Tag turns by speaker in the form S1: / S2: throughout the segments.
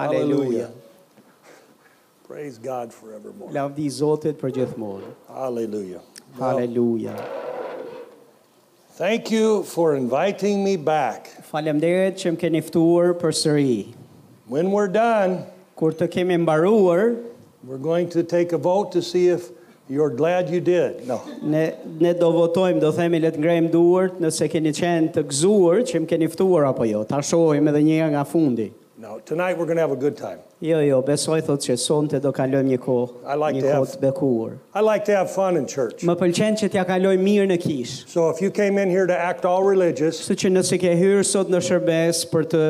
S1: Haleluja.
S2: Praise God forevermore.
S1: Lavdi Zotit për gjithmonë.
S2: Hallelujah.
S1: Haleluja.
S2: Thank you for inviting me back.
S1: Faleminderit që më keni ftuar përsëri.
S2: When we're done,
S1: Kur të kemi mbaruar,
S2: we're going to take a vote to see if you're glad you did. No.
S1: ne ne do votojmë, do themi le të ngrejmë duart nëse keni qenë të gëzuar që më keni ftuar apo jo. Ta shohim edhe një herë nga fundi.
S2: No. Tonight we're going to have a good time.
S1: Jo, jo, besoj thotë që sonte do kalojmë një kohë,
S2: I like
S1: një
S2: to have-
S1: kohë të bekuar.
S2: I like to have fun in church.
S1: Më pëlqen që t'ja kaloj mirë në kishë.
S2: So if you came in here to act all religious,
S1: Kështu që nëse ke hyrë sot në shërbes për të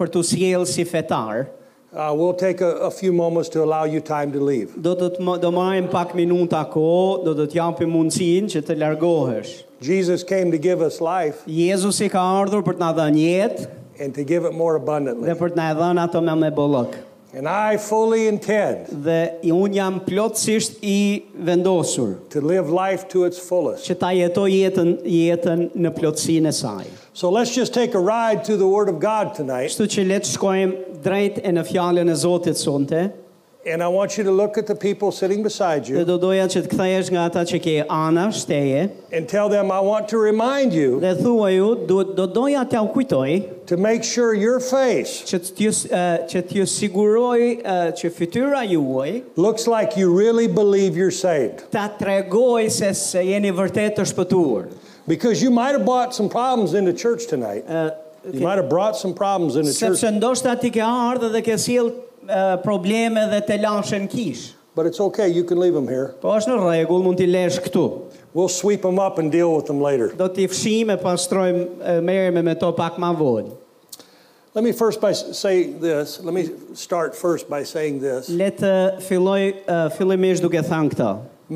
S1: për të sjellë si fetar,
S2: uh, we'll take a, a few moments to allow you time to leave.
S1: do të të mo- do marrim pak minuta kohë, do të të japim mundësinë që të largohesh.
S2: Jesus came to give us life
S1: Jezusi ka ardhur për të na dhënë jetë
S2: and to give it more
S1: dhe
S2: abundantly.
S1: për të na e dhënë ato me me bollëk.
S2: And I fully intend
S1: Dhe i- unë jam plotësisht i vendosur
S2: to live life to its fullest.
S1: që ta jetoj jetën jetën në plotësinë e saj.
S2: So let's just take a ride through the Word of God tonight.
S1: Kështu që le të shkojmë drejt e në fjalën e Zotit sonte,
S2: And I want you to look at the people sitting beside
S1: dhe
S2: you
S1: do doja që të kthehesh nga ata që ke anash teje,
S2: and tell them, I want to remind you
S1: Dhe thua ju, do, do doja t'ja u kujtoj
S2: to make sure your face
S1: që t'ju, uh, që t'ju siguroj uh, që fytyra juaj
S2: looks like you really believe you're saved.
S1: ta tregoj se, se jeni vërtet të shpëtuar.
S2: Because you might have brought some problems into church tonight. You might have brought some problems into church,
S1: Sepse ndoshta ti ke ardhë dhe ke sjell uh, probleme dhe te lashën kish.
S2: but it's okay. You can leave them here.
S1: Po është në rregull, mund t'i lesh këtu.
S2: We'll sweep them up and deal with them later.
S1: Do t'i fshim e pastrojmë, uh, merrem me to pak ma vonë.
S2: Let me first by s- say this. Let me start first by saying this.
S1: Le të filloj uh, fillimisht duke thënë këtë.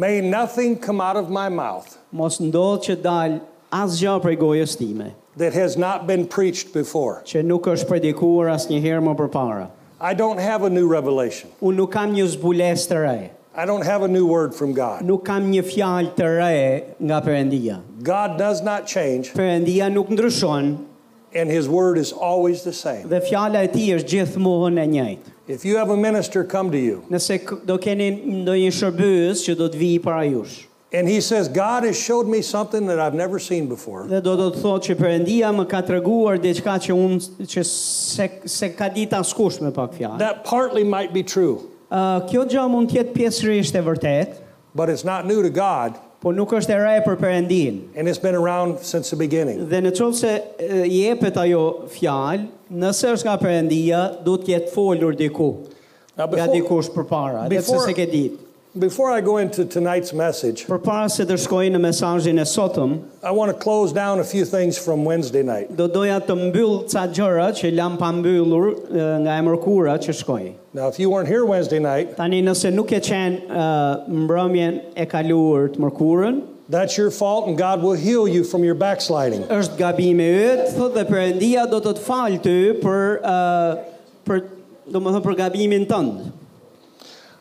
S2: May nothing come out of my mouth
S1: Mos ndodh që dal asgjë prej gojës time.
S2: that has not been preached before.
S1: që nuk është predikuar asë një herë më përpara.
S2: I don't have a new revelation.
S1: Unë nuk kam një zbules të re,
S2: I don't have a new word from God.
S1: nuk kam një fjalë të re nga Perëndia.
S2: God does not change,
S1: Perëndia nuk ndryshon
S2: and His word is always the same.
S1: dhe fjala e tij është gjithmonë e njëjtë.
S2: If you have a minister come to you
S1: Nëse k- do keni ndonjë shërbëes që do të vijë para jush
S2: and he says, God has showed me something that I've never seen before,
S1: dhe do do të thotë që Perëndia më ka treguar diçka që unë që se, se ka ditë askush me pak fjalë.
S2: that partly might be true,
S1: Ë, kjo gjë mund të jetë pjesërisht e vërtetë,
S2: but it's not new to God,
S1: por nuk është e re për Perëndinë.
S2: and it's been around since the beginning.
S1: Dhe në qovë se e, jepet ajo fjalë, nëse është nga përëndia, do të jetë folur diku.
S2: Now,
S1: Nga
S2: before,
S1: dikush për para, dhe pse
S2: before-
S1: se ke ditë.
S2: before I go into tonight's message,
S1: Për para se të shkoj në mesazhin e sotëm,
S2: I want to close down a few things from Wednesday night.
S1: do doja të mbyll ca gjëra që lam pa mbyllur e, nga e mërkura që shkoj.
S2: Now, if you weren't here Wednesday night,
S1: Tani nëse nuk e qenë e, mbrëmjen e kaluar të mërkurën,
S2: that's your fault, and God will heal you from your backsliding.
S1: është gabimi yt, thotë dhe Perëndia do të të falë ty për e, për domethënë për gabimin tënd.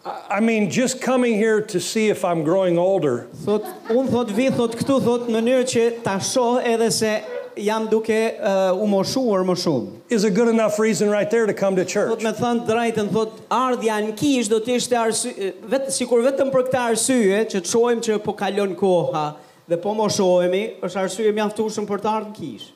S2: I mean, just coming here to see if I'm growing older
S1: Thot, unë thot vi, thot këtu, thot në mënyrë që ta shoh edhe se jam duke uh, u moshuar më shumë.
S2: is a good enough reason right there to come to
S1: Thot
S2: church.
S1: me thënë drejtën, thot ardhja në kish do të ishte arsye, vetë, sikur vetëm për këtë arsye që të shohim që po kalon koha dhe po moshohemi, është arsye mjaftueshëm për të ardhur në kish.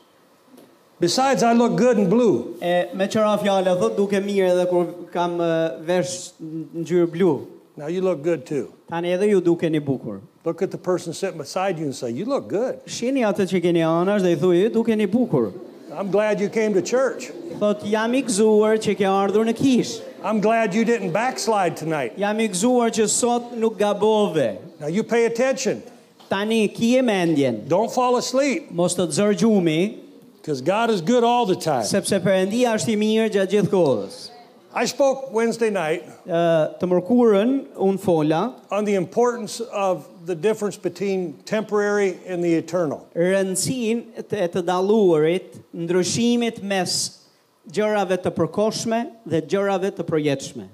S2: Besides, I look good in blue.
S1: E, me qëra fjala, thot duke mirë edhe kur kam uh, vesh ngjyrë blu.
S2: Now you look good too.
S1: Tani edhe ju dukeni bukur.
S2: Look at the person sitting beside you and say, You look good.
S1: Shihni atë që keni anash dhe i thuaj, "Ju dukeni bukur.
S2: I'm glad you came to church.
S1: Thot jam i gëzuar që ke ardhur në kish.
S2: I'm glad you didn't backslide tonight.
S1: Jam i gëzuar që sot nuk gabove.
S2: Now you pay attention.
S1: Tani ki e mendjen.
S2: Don't fall asleep
S1: Mos të të zërë gjumi,
S2: because God is good all the time.
S1: sepse Perëndia është i mirë gjatë gjithë kohës.
S2: I spoke Wednesday night
S1: Ë, të mërkurën un fola
S2: on the importance of the difference between temporary and the eternal.
S1: rëndësinë të, të dalluarit, ndryshimit mes gjërave të përkohshme dhe gjërave të përjetshme.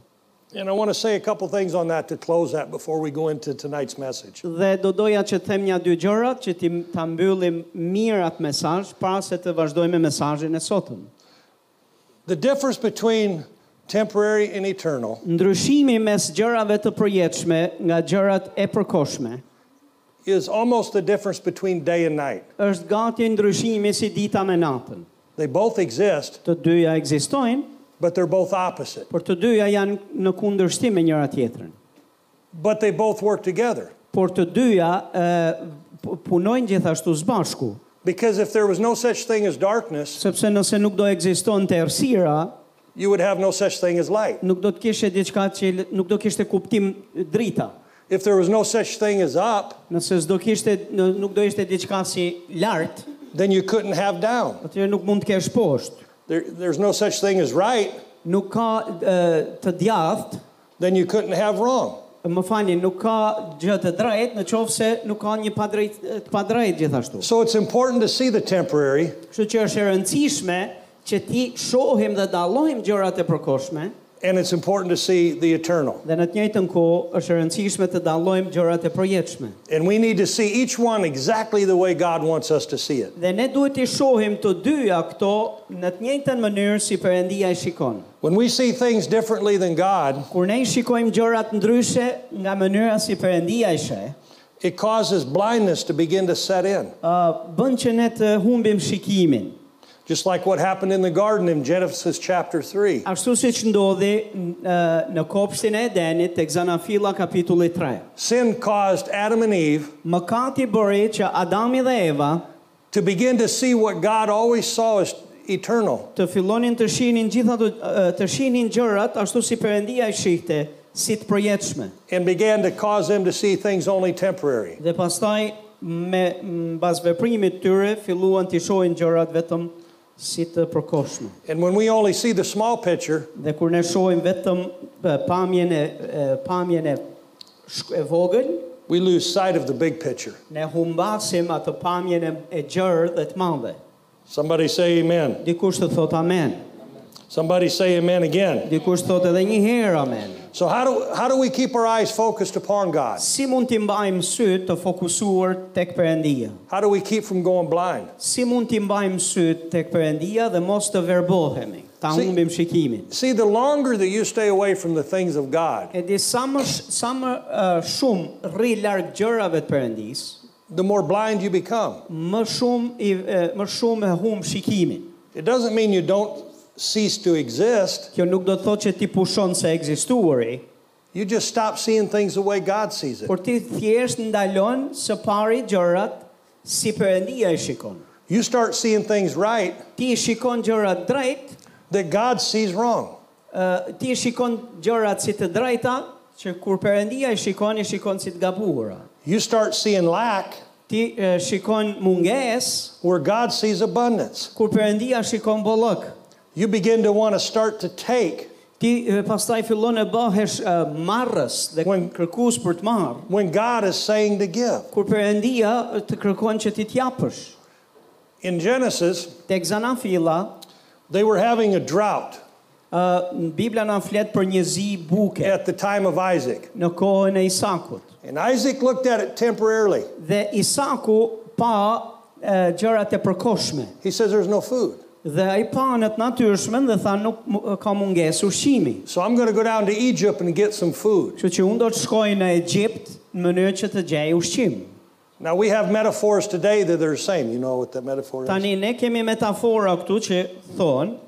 S2: And I want to say a couple things on that to close that before we go into tonight's message.
S1: Dhe do doja që të them një dy gjëra që ti ta mbyllim mirë atë mesazh para se të vazhdojmë me mesazhin e sotëm.
S2: The difference between temporary and eternal,
S1: Ndryshimi mes gjërave të përjetshme nga gjërat e përkohshme
S2: is almost the difference between day and night.
S1: është gati ndryshimi si dita me natën.
S2: They both exist,
S1: Të dyja ekzistojnë,
S2: but they're both opposite.
S1: por të dyja janë në kundërshtim me njëra tjetrën.
S2: But they both work together.
S1: Por të dyja e, pu- punojnë gjithashtu së bashku,
S2: Because if there was no such thing as darkness,
S1: sepse nëse nuk do ekziston të errësira,
S2: you would have no such thing as light.
S1: nuk do të kishte diçka që l- nuk do kishte kuptim drita.
S2: If there was no such thing as up,
S1: Nëse s'do kishte në- nuk do ishte diçka si lart,
S2: then you couldn't have down.
S1: atëherë nuk mund të kesh poshtë.
S2: There, there's no such thing as right,
S1: Nuk ka e, të djathtë,
S2: then you couldn't have wrong.
S1: Më falni, nuk ka gjë të drejtë në qoftë se nuk ka një padrejt të padrejtë gjithashtu.
S2: So it's important to see the temporary
S1: Kështu që është e rëndësishme që ti shohim dhe dallojmë gjërat e përkohshme
S2: and it's important to see the eternal.
S1: dhe në të njëjtën kohë është e rëndësishme të dallojmë gjërat e përjetshme.
S2: And we need to see each one exactly the way God wants us to see it.
S1: Dhe ne duhet të shohim të dyja këto në të njëjtën mënyrë si Perëndia i shikon.
S2: When we see things differently than God,
S1: Kur ne i shikojmë gjërat ndryshe nga mënyra si Perëndia i sheh,
S2: it causes blindness to begin to set in.
S1: ë bën që ne të humbim shikimin.
S2: Just like what happened in the garden in Genesis chapter 3.
S1: Ashtu si që ndodhi n- ë, në kopshtin e Edenit tek Zanafilla kapitulli 3.
S2: Sin caused Adam and Eve
S1: Mëkati bëri që Adami dhe Eva
S2: to begin to see what God always saw as eternal.
S1: të fillonin të shihnin gjitha të, ë, të shihnin gjërat ashtu si Perëndia i shihte si të përjetshme.
S2: and began to cause them to see things only temporary.
S1: Dhe pastaj me mbas veprimit të tyre filluan të shohin gjërat vetëm si të përkohshme.
S2: And when we only see the small picture,
S1: Dhe kur ne shohim vetëm ë, pamjen e ë, pamjen e, shk- e vogël,
S2: we lose sight of the big picture.
S1: ne humbasim atë pamjen e, e gjerë dhe të madhe.
S2: Somebody say amen.
S1: Dikush të thot amen.
S2: Somebody say amen again.
S1: Dikush thot edhe një herë amen.
S2: So, how do, how do we keep our eyes focused upon God?
S1: Si mund t'i mbajmë sytë të fokusuar tek Perëndia?
S2: How do we keep from going blind?
S1: Si mund t'i mbajmë sytë tek Perëndia dhe mos të verbohemi, ta
S2: Si-
S1: humbim shikimin?
S2: See, the longer that you stay away from the things of God,
S1: E di sa më sh- sa më uh, shumë rri larg gjërave të Perëndis,
S2: the more blind you become.
S1: më shumë i e, më shumë e humb shikimin.
S2: It doesn't mean you don't cease to exist,
S1: Kjo nuk do të thotë që ti pushon se ekzistuari,
S2: you just stop seeing things the way God sees it.
S1: por ti thjesht ndalon së pari gjërat si Perëndia i shikon.
S2: You start seeing things right
S1: Ti i shikon gjërat drejt,
S2: that God sees wrong.
S1: ë, ti i shikon gjërat si të drejta, që kur Perëndia i shikon, i shikon si të gabuara.
S2: You start seeing lack
S1: Ti e, shikon mungesë,
S2: where God sees abundance.
S1: kur Perëndia shikon bollëk.
S2: You begin to want to start to take
S1: Ti e, pastaj fillon e bëhesh e, marrës dhe
S2: When-
S1: kërkues për të marrë,
S2: when God is saying to give.
S1: kur Perëndia e, të kërkon që ti t'japësh.
S2: In Genesis,
S1: Tek Zanafilla,
S2: they were having a drought
S1: ë Bibla na flet për një zi buke
S2: at the time of Isaac.
S1: në kohën e Isakut.
S2: And Isaac looked at it temporarily.
S1: Dhe Isaku pa e, gjërat e përkohshme.
S2: He says, There's no food.
S1: Dhe ai pa në të natyrshmen dhe tha nuk mu- ka mungesë ushqimi.
S2: So I'm going to go down to Egypt and get some food.
S1: Kështu që unë do të shkoj në Egjipt në mënyrë që të gjej ushqim.
S2: Now, we have metaphors today that are the same. You know what that metaphor is?
S1: Tani ne kemi metafora këtu që thonë,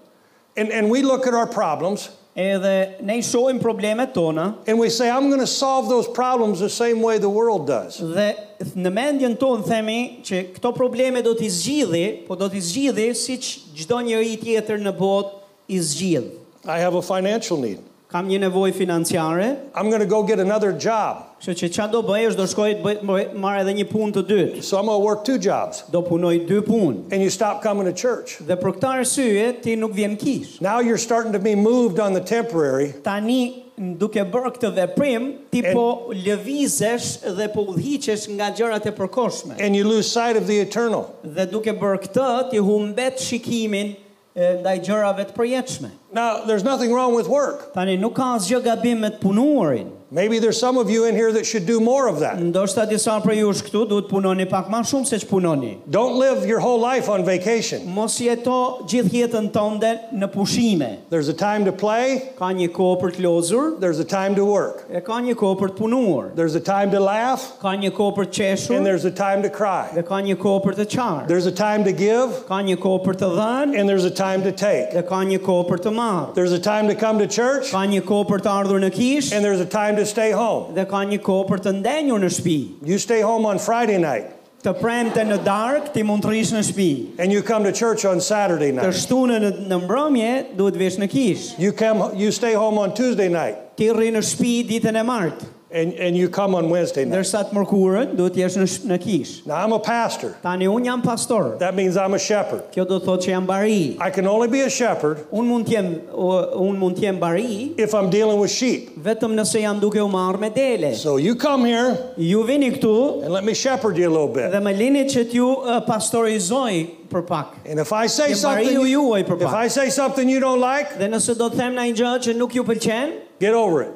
S2: And, and we look at our problems
S1: edhe ne i shohim problemet tona
S2: and we say, I'm going to solve those problems the same way the world does.
S1: dhe në mendjen tonë themi që këto probleme do t'i zgjidhi, po do t'i zgjidhi siç çdo njeri tjetër në botë i zgjidh.
S2: I have a financial need.
S1: Kam një nevojë financiare,
S2: I'm going to go get another job.
S1: kështu që çfarë do bëj është do shkoj të bëj marr edhe një punë të dytë.
S2: So I'm going to work two jobs.
S1: Do punoj dy punë.
S2: And you stop coming to church.
S1: Dhe për këtë arsye ti nuk vjen kish.
S2: Now you're starting to be moved on the temporary
S1: Tani n- duke bërë këtë veprim, ti
S2: And-
S1: po lëvizesh dhe po udhiqesh nga gjërat e përkohshme.
S2: and you lose sight of the eternal.
S1: Dhe duke bërë këtë, ti humbet shikimin e, ndaj gjërave të përjetshme.
S2: Now, there's nothing wrong with work.
S1: Tani nuk ka asgjë gabim me të punuarin.
S2: Maybe there's some of you in here that should do more of that.
S1: Ndoshta disa prej jush këtu duhet punoni pak më shumë se ç'punoni.
S2: Don't live your whole life on vacation.
S1: Mos jeto gjithë jetën tënde në pushime.
S2: There's a time to play,
S1: Ka një kohë për të lozur,
S2: there's a time to work,
S1: e ka një kohë për të punuar.
S2: there's a time to laugh,
S1: Ka një kohë për të
S2: and
S1: qeshur
S2: there's a time to cry.
S1: dhe ka një kohë për të qarë.
S2: There's a time to give,
S1: Ka një kohë për të dhënë
S2: and there's a time to take.
S1: dhe ka një kohë për të marrë.
S2: There's a time to come to church,
S1: Ka një kohë për të ardhur në kishë
S2: and there's a time to stay home.
S1: dhe ka një kohë për të ndenjur në shtëpi.
S2: You stay home on Friday night,
S1: Të premte në darkë ti mund të rish në shtëpi.
S2: and you come to church on Saturday
S1: Të
S2: night.
S1: shtunë në, në mbrëmje duhet vesh në kishë.
S2: You come, you stay home on Tuesday night,
S1: Ti rri në shtëpi ditën e martë.
S2: and, and you come on Wednesday night.
S1: Ndërsa të mërkurën duhet jesh në, sh- në kishë.
S2: Now I'm a pastor.
S1: Tani unë jam pastor.
S2: That means I'm a shepherd.
S1: Kjo do të thotë që jam bari.
S2: I can only be a shepherd
S1: Unë mund të jem u- unë mund të jem bari
S2: if I'm dealing with sheep.
S1: vetëm nëse jam duke u marrë me dele.
S2: So you come here
S1: Ju vini këtu
S2: and let me shepherd you a little bit.
S1: dhe më lini që t'ju eh, pastorizoj për pak.
S2: And if I say
S1: Jem
S2: something,
S1: bariu
S2: you,
S1: juaj për
S2: if I
S1: pak.
S2: say something you don't like,
S1: Dhe nëse do të them në një gjë që nuk ju pëlqen,
S2: get over it.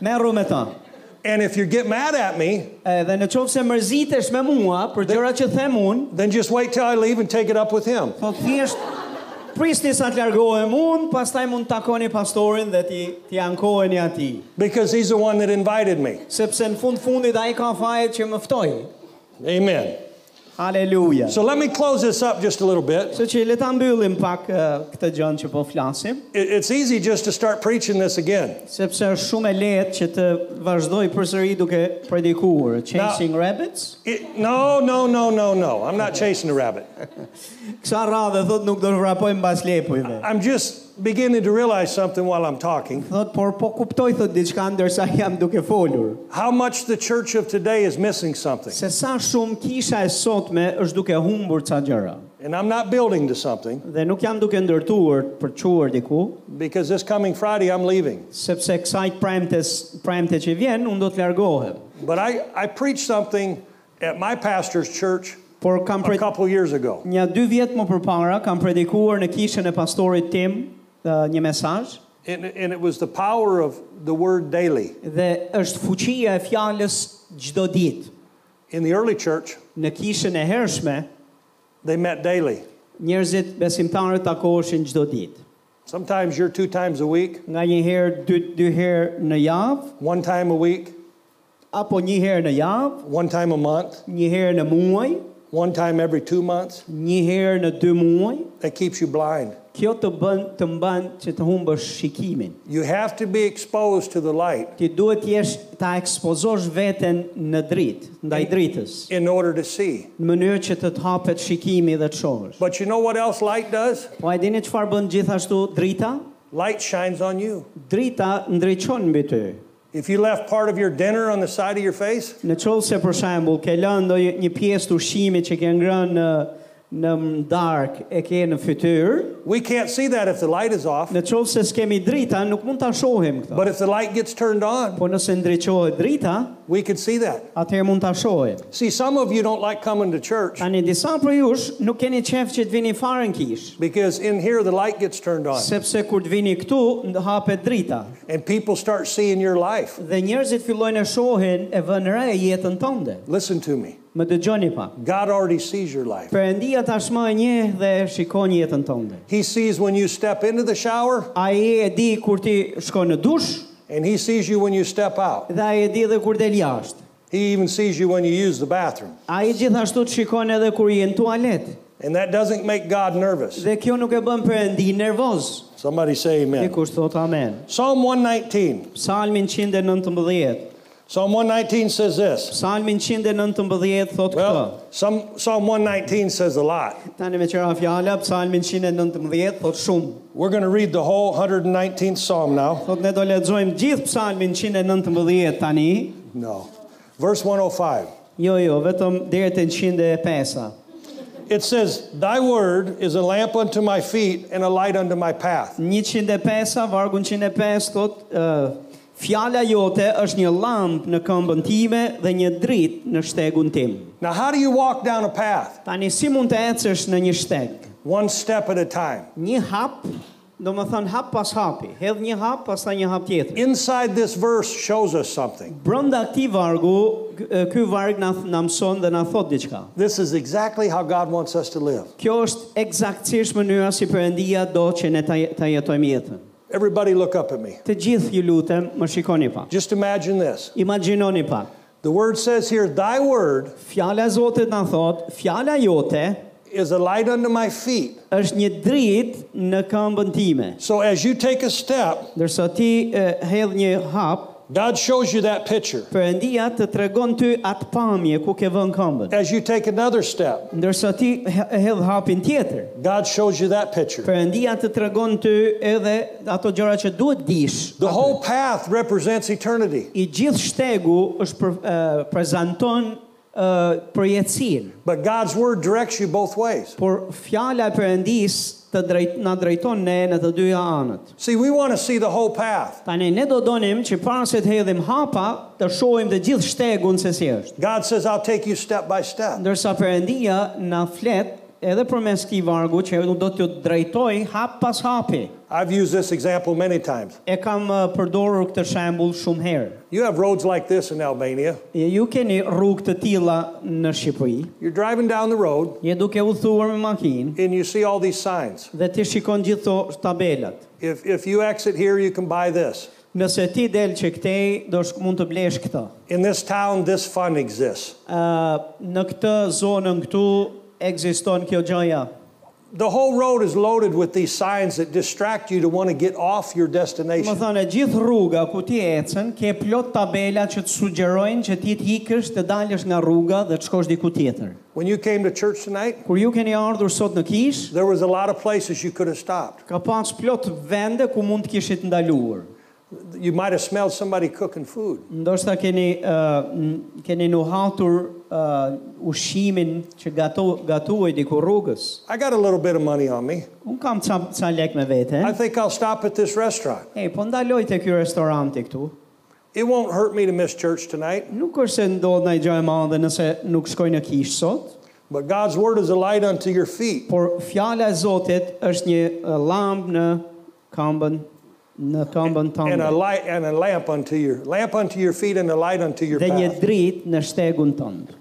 S1: merru me ta.
S2: And if you get mad at me,
S1: Eh, Dhe në qovë se mërzitesh me mua për gjëra që them unë,
S2: then just wait till I leave and take it up with him.
S1: po thjesht prisni sa të largohem unë, pastaj mund të takoni pastorin dhe ti, ti ankoheni ati.
S2: Because he's the one that invited me.
S1: Sepse në fund fundit a i ka fajet që më ftoj.
S2: Amen.
S1: Aleluja.
S2: So let me close this up just a little bit.
S1: Kështu që le ta mbyllim pak eh, këtë gjën që po flasim,
S2: It- It's easy just to start preaching this again.
S1: sepse është shumë e lehtë që të vazhdoj përsëri duke predikuar Chasing Rabbits.
S2: It- no, no, no, no, no. I'm not chasing a rabbit.
S1: Kësa radhe thot nuk do të vrapoj mbas lepujve.
S2: I'm just beginning to realize something while I'm talking.
S1: Thot por po kuptoj thot diçka ndërsa jam duke folur.
S2: How much the church of today is missing something.
S1: Se sa shumë kisha e sotme është duke humbur ca gjëra
S2: And I'm not building to something
S1: dhe nuk jam duke ndërtuar për të çuar diku,
S2: because this coming Friday I'm leaving.
S1: sepse kësaj premtes premte që vjen unë do të largohem.
S2: But I, I preached something at my pastor's church
S1: Por kam
S2: a
S1: pret
S2: couple years ago.
S1: Një dy vjet më përpara kam predikuar në kishën e pastorit tim ë, një mesazh
S2: And, and it was the power of the word daily.
S1: dhe është fuqia e fjalës çdo ditë.
S2: In the early church,
S1: Në kishën e hershme
S2: they met daily.
S1: njerëzit besimtarët takoheshin çdo ditë.
S2: Sometimes you're two times a week,
S1: Nga një herë dy dy herë në javë
S2: one time a week,
S1: apo një herë në javë,
S2: one time a month,
S1: një herë në muaj,
S2: one time every two months.
S1: një herë në dy muaj.
S2: That keeps you blind.
S1: Kjo të bën të mban që të humbësh shikimin.
S2: You have to be exposed to the light
S1: Ti duhet të jesh ta ekspozosh veten në dritë, ndaj dritës.
S2: in order to see.
S1: në mënyrë që të të hapet shikimi dhe të shohësh.
S2: But you know what else light does?
S1: Po e dini çfarë bën gjithashtu drita?
S2: Light shines on you.
S1: Drita ndriçon mbi ty.
S2: If you left part of your dinner on the side of your face,
S1: Në qovë se për shembull ke lënë ndonjë një pjesë të ushqimit që ke ngrënë në në darkë e ke në fytyrë,
S2: we can't see that if the light is off.
S1: në qovë se s'kemi drita, nuk mund ta shohim këtë.
S2: But if the light gets turned on,
S1: Po nëse ndriçohet drita,
S2: we can see that.
S1: atëherë mund ta shohim.
S2: See, some of you don't like coming to church
S1: Tani disa për jush nuk keni qef që të vini fare në kishë,
S2: because in here the light gets turned on
S1: sepse kur të vini këtu, nd- hapet drita.
S2: and people start seeing your life.
S1: Dhe njerëzit fillojnë e shohin e vënë re jetën tënde.
S2: Listen to me.
S1: Më dëgjoni pak.
S2: God already sees your life.
S1: Perëndia tashmë e njeh dhe e shikon jetën tënde.
S2: He sees when you step into the shower
S1: Ai e di kur ti shkon në dush
S2: and he sees you when you step out.
S1: dhe ai e di edhe kur del jashtë.
S2: He even sees you when you use the bathroom.
S1: Ai gjithashtu të shikon edhe kur je në tualet.
S2: And that doesn't make God nervous.
S1: Dhe kjo nuk e bën Perëndin nervoz.
S2: Somebody say amen.
S1: Dikush thot amen.
S2: Psalm 119.
S1: Psalmin 119.
S2: Psalm 119 says this.
S1: Psalmin 119 thot këtë.
S2: Well, some, Psalm 119 says a lot.
S1: Tani me qëra fjala, Psalmin 119 thot shumë.
S2: We're going to read the whole 119th Psalm now.
S1: Thot ne do lexojmë gjithë Psalmin 119 tani.
S2: No. Verse 105.
S1: Jo, jo, vetëm deri te 105-a.
S2: It says, Thy word is a lamp unto my feet and a light unto my path.
S1: 105-a, vargu 105 thot ë fjala jote është një llampë në këmbën time dhe një dritë në shtegun tim.
S2: Now, how do you walk down a path?
S1: Tani si mund të ecësh në një shteg?
S2: One step at a time.
S1: Një hap do më thënë hap pas hapi, hedh një hap, pastaj një hap tjetër.
S2: Inside this verse shows us something.
S1: Brënda këtij vargu, k- e, ky varg na na mëson dhe na thot diçka.
S2: This is exactly how God wants us to live.
S1: Kjo është eksaktësisht mënyra si Perëndia do që ne ta, ta jetojmë jetën.
S2: Everybody look up at me.
S1: Të gjithë ju lutem, më shikoni pak.
S2: Just imagine this.
S1: Imagjinoni pak.
S2: The word says here, Thy word
S1: Fjala e Zotit na thot, fjala jote
S2: is a light unto my feet.
S1: është një dritë në këmbën time.
S2: So as you take a step,
S1: Ndërsa ti e, hedh një hap,
S2: God shows you that picture.
S1: Perëndia të tregon ty atë pamje ku ke vënë këmbën.
S2: As you take another step,
S1: Ndërsa ti he- hedh hapin tjetër,
S2: God shows you that picture.
S1: Perëndia të tregon ty edhe ato gjëra që duhet dish.
S2: The whole path represents eternity.
S1: I gjithë shtegu është për, e, prezanton ë përjetësinë,
S2: But God's word directs you both ways.
S1: por fjala e Perëndis të drejt na drejton ne në të dyja anët.
S2: See, we want to see the whole path.
S1: Tani ne do donim që para se të hedhim hapa, të shohim të gjithë shtegun se si është.
S2: God says, I'll take you step by step.
S1: Ndërsa Perëndia na flet edhe përmes këtij vargu që do t'ju drejtoj hap pas hapi.
S2: I've used this example many times.
S1: E kam eh, përdorur këtë shembull shumë herë.
S2: You have roads like this in Albania.
S1: Ju keni rrugë të tilla në Shqipëri.
S2: You're driving down the road
S1: Je duke u thuar me makinë
S2: and you see all these signs.
S1: dhe ti shikon gjithë to tabelat.
S2: If, if you exit here, you can buy this.
S1: Nëse ti del që këtej, do shk mund të blesh këtë.
S2: In this town, this fund exists.
S1: Ë në këtë zonën këtu ekziston kjo gjëja.
S2: The whole road is loaded with these signs that distract you to want to get off your
S1: Më
S2: destination.
S1: thënë, e gjithë rruga ku ti ecën, ke plot tabela që të sugjerojnë që ti të ikësh, të dalësh nga rruga dhe të shkosh diku tjetër.
S2: When you came to church tonight,
S1: Kur ju keni ardhur sot në kish,
S2: there was a lot of places you could have stopped.
S1: ka pas plot vende ku mund të kishit ndaluar.
S2: You might have smelled somebody cooking food.
S1: Ndoshta keni uh, keni nuhatur uh, ushimin që gato gatuaj diku rrugës.
S2: I got a little bit of money on me.
S1: Un kam ca ca lek me vete.
S2: I think I'll stop at this restaurant.
S1: Ej, po ndaloj te ky restoranti këtu.
S2: It won't hurt me to miss church tonight,
S1: Nuk është se ndodh ndaj gjë e madhe nëse nuk shkoj në kishë sot,
S2: but God's word is a light unto your feet.
S1: por fjala e Zotit është një uh, lamp në këmbën në këmbën
S2: And a
S1: tënde
S2: light and a lamp unto your lamp unto your feet and a light unto your
S1: dhe një
S2: path.
S1: dritë në shtegun tënd.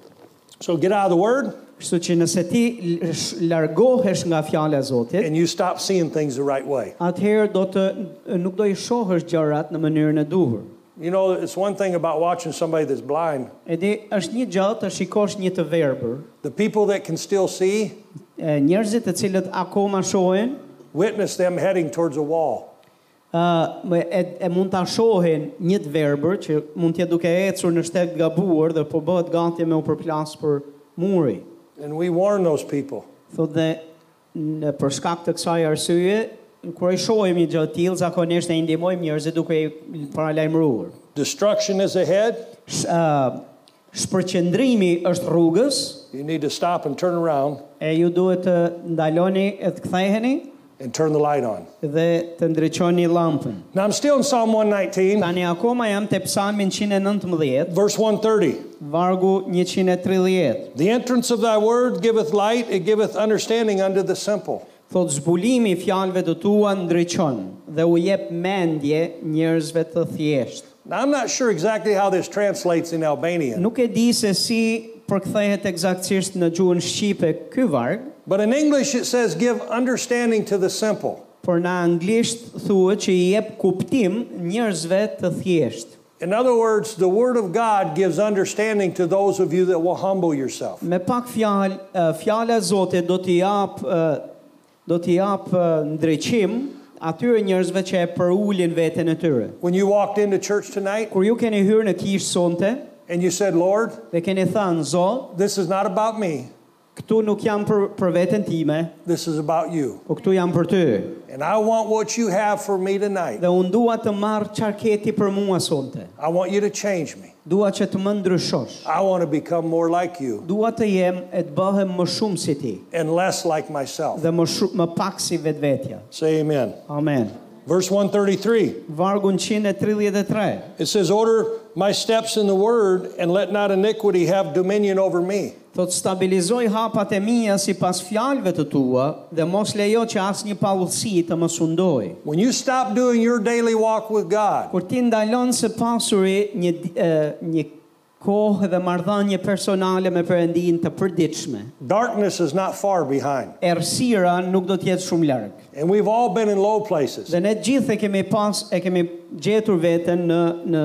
S2: So get out of the word
S1: Kështu që nëse ti l- sh- largohesh nga fjala e Zotit,
S2: and you stop seeing things the right way.
S1: atëherë do të nuk do i shohësh gjërat në mënyrën e duhur.
S2: You know, it's one thing about watching somebody that's blind.
S1: E di, është një gjë të shikosh një të verbër,
S2: The people that can still see
S1: e, njerëzit të cilët akoma shohin,
S2: witness them heading towards a wall.
S1: ë më- e, e mund ta shohin një të verbër që mund t'je duke ecur në shtet të gabuar dhe po bëhet gati me u përplas për muri.
S2: And we warn those people.
S1: Thotë dhe në për shkak të kësaj arsye, kur i shohim një gjë të tillë, zakonisht e ndihmojmë njerëzit duke i paralajmëruar.
S2: Destruction is ahead.
S1: Sh, ë, shpërqendrimi është rrugës,
S2: You need to stop and turn around
S1: E ju duhet të ndaloni e të ktheheni
S2: and turn the light on.
S1: dhe të ndriçoni llampën.
S2: Now I'm still in Psalm 119,
S1: Tani akoma jam te Psalmi 119,
S2: verse 130.
S1: vargu 130.
S2: The entrance of thy word giveth light, it giveth understanding unto the simple.
S1: Thot zbulimi i fjalëve të tua ndriçon dhe u jep mendje njerëzve të thjeshtë.
S2: Now I'm not sure exactly how this translates in Albanian,
S1: Nuk e di se si përkthehet eksaktësisht në gjuhën shqipe ky varg,
S2: but in English it says give understanding to the simple.
S1: por në anglisht thuhet që i jep kuptim njerëzve të thjeshtë.
S2: In other words, the word of God gives understanding to those of you that will humble yourself.
S1: Me pak fjalë, eh, fjala e Zotit do t'i jap eh, do t'i jap eh, ndriçim atyre njerëzve që e përulin veten e tyre.
S2: When you walked into church tonight
S1: Kur ju keni hyrë në kishë sonte
S2: and you said, Lord,
S1: dhe keni thënë, Zot,
S2: this is not about me,
S1: këtu nuk jam për, për veten time,
S2: this is about you.
S1: po këtu jam për ty.
S2: And I want what you have for me tonight.
S1: Dhe unë dua të marr çarketi për mua sonte.
S2: I want you to change me.
S1: Dua që të më ndryshosh.
S2: I want to become more like you
S1: Dua të jem e të bëhem më shumë si ti
S2: and less like myself.
S1: dhe më shumë më pak si vetvetja.
S2: Say amen.
S1: Amen.
S2: Verse 133.
S1: vargu 133.
S2: It says, Order my steps in the word, and let not iniquity have dominion over me.
S1: Thot stabilizoj hapat e mia si pas fjalëve të tua dhe mos lejo që asë një pavullësi të më sundoj.
S2: When you stop doing your daily walk with God,
S1: Kur ti ndalon së pasuri një, di- e, një kohë dhe mardhanje personale me përëndin të përdiqme,
S2: darkness is not far behind.
S1: errësira nuk do t'jetë shumë largë.
S2: And we've all been in low places.
S1: Dhe ne gjithë e kemi pas, e kemi gjetur veten në, në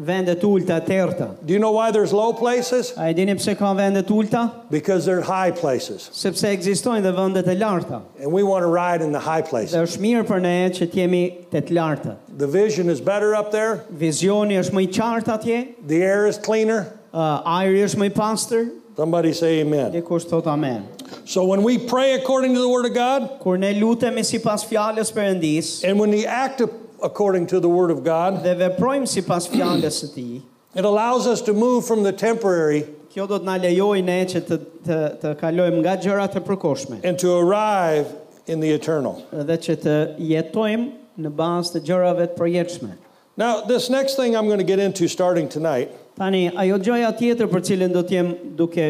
S1: vendet ulta të errta.
S2: Do you know why there's low places?
S1: A e dini pse ka vendet ulta?
S2: Because they're high places.
S1: Sepse egzistojnë dhe vendet e larta.
S2: And we want to ride in the high
S1: Dhe
S2: places.
S1: është mirë për ne që t'jemi të të lartët.
S2: The vision is better up there,
S1: Vizioni është më i qartë atje,
S2: the air is cleaner.
S1: uh, ajri është më i pastër,
S2: Somebody say amen.
S1: dikush thot amen.
S2: So when we pray according to the word of God,
S1: Kur ne lutemi sipas fjalës Perëndis
S2: and when we act according to the word of God,
S1: dhe veprojmë sipas fjalës së Tij,
S2: it allows us to move from the temporary
S1: kjo do të na lejojë ne që të të, të kalojmë nga gjërat e përkohshme
S2: and to arrive in the eternal.
S1: dhe që të jetojmë në bazë të gjërave të përjetshme.
S2: Now, this next thing I'm going to get into starting tonight
S1: Tani, ajo gjëja tjetër për cilën do të jem duke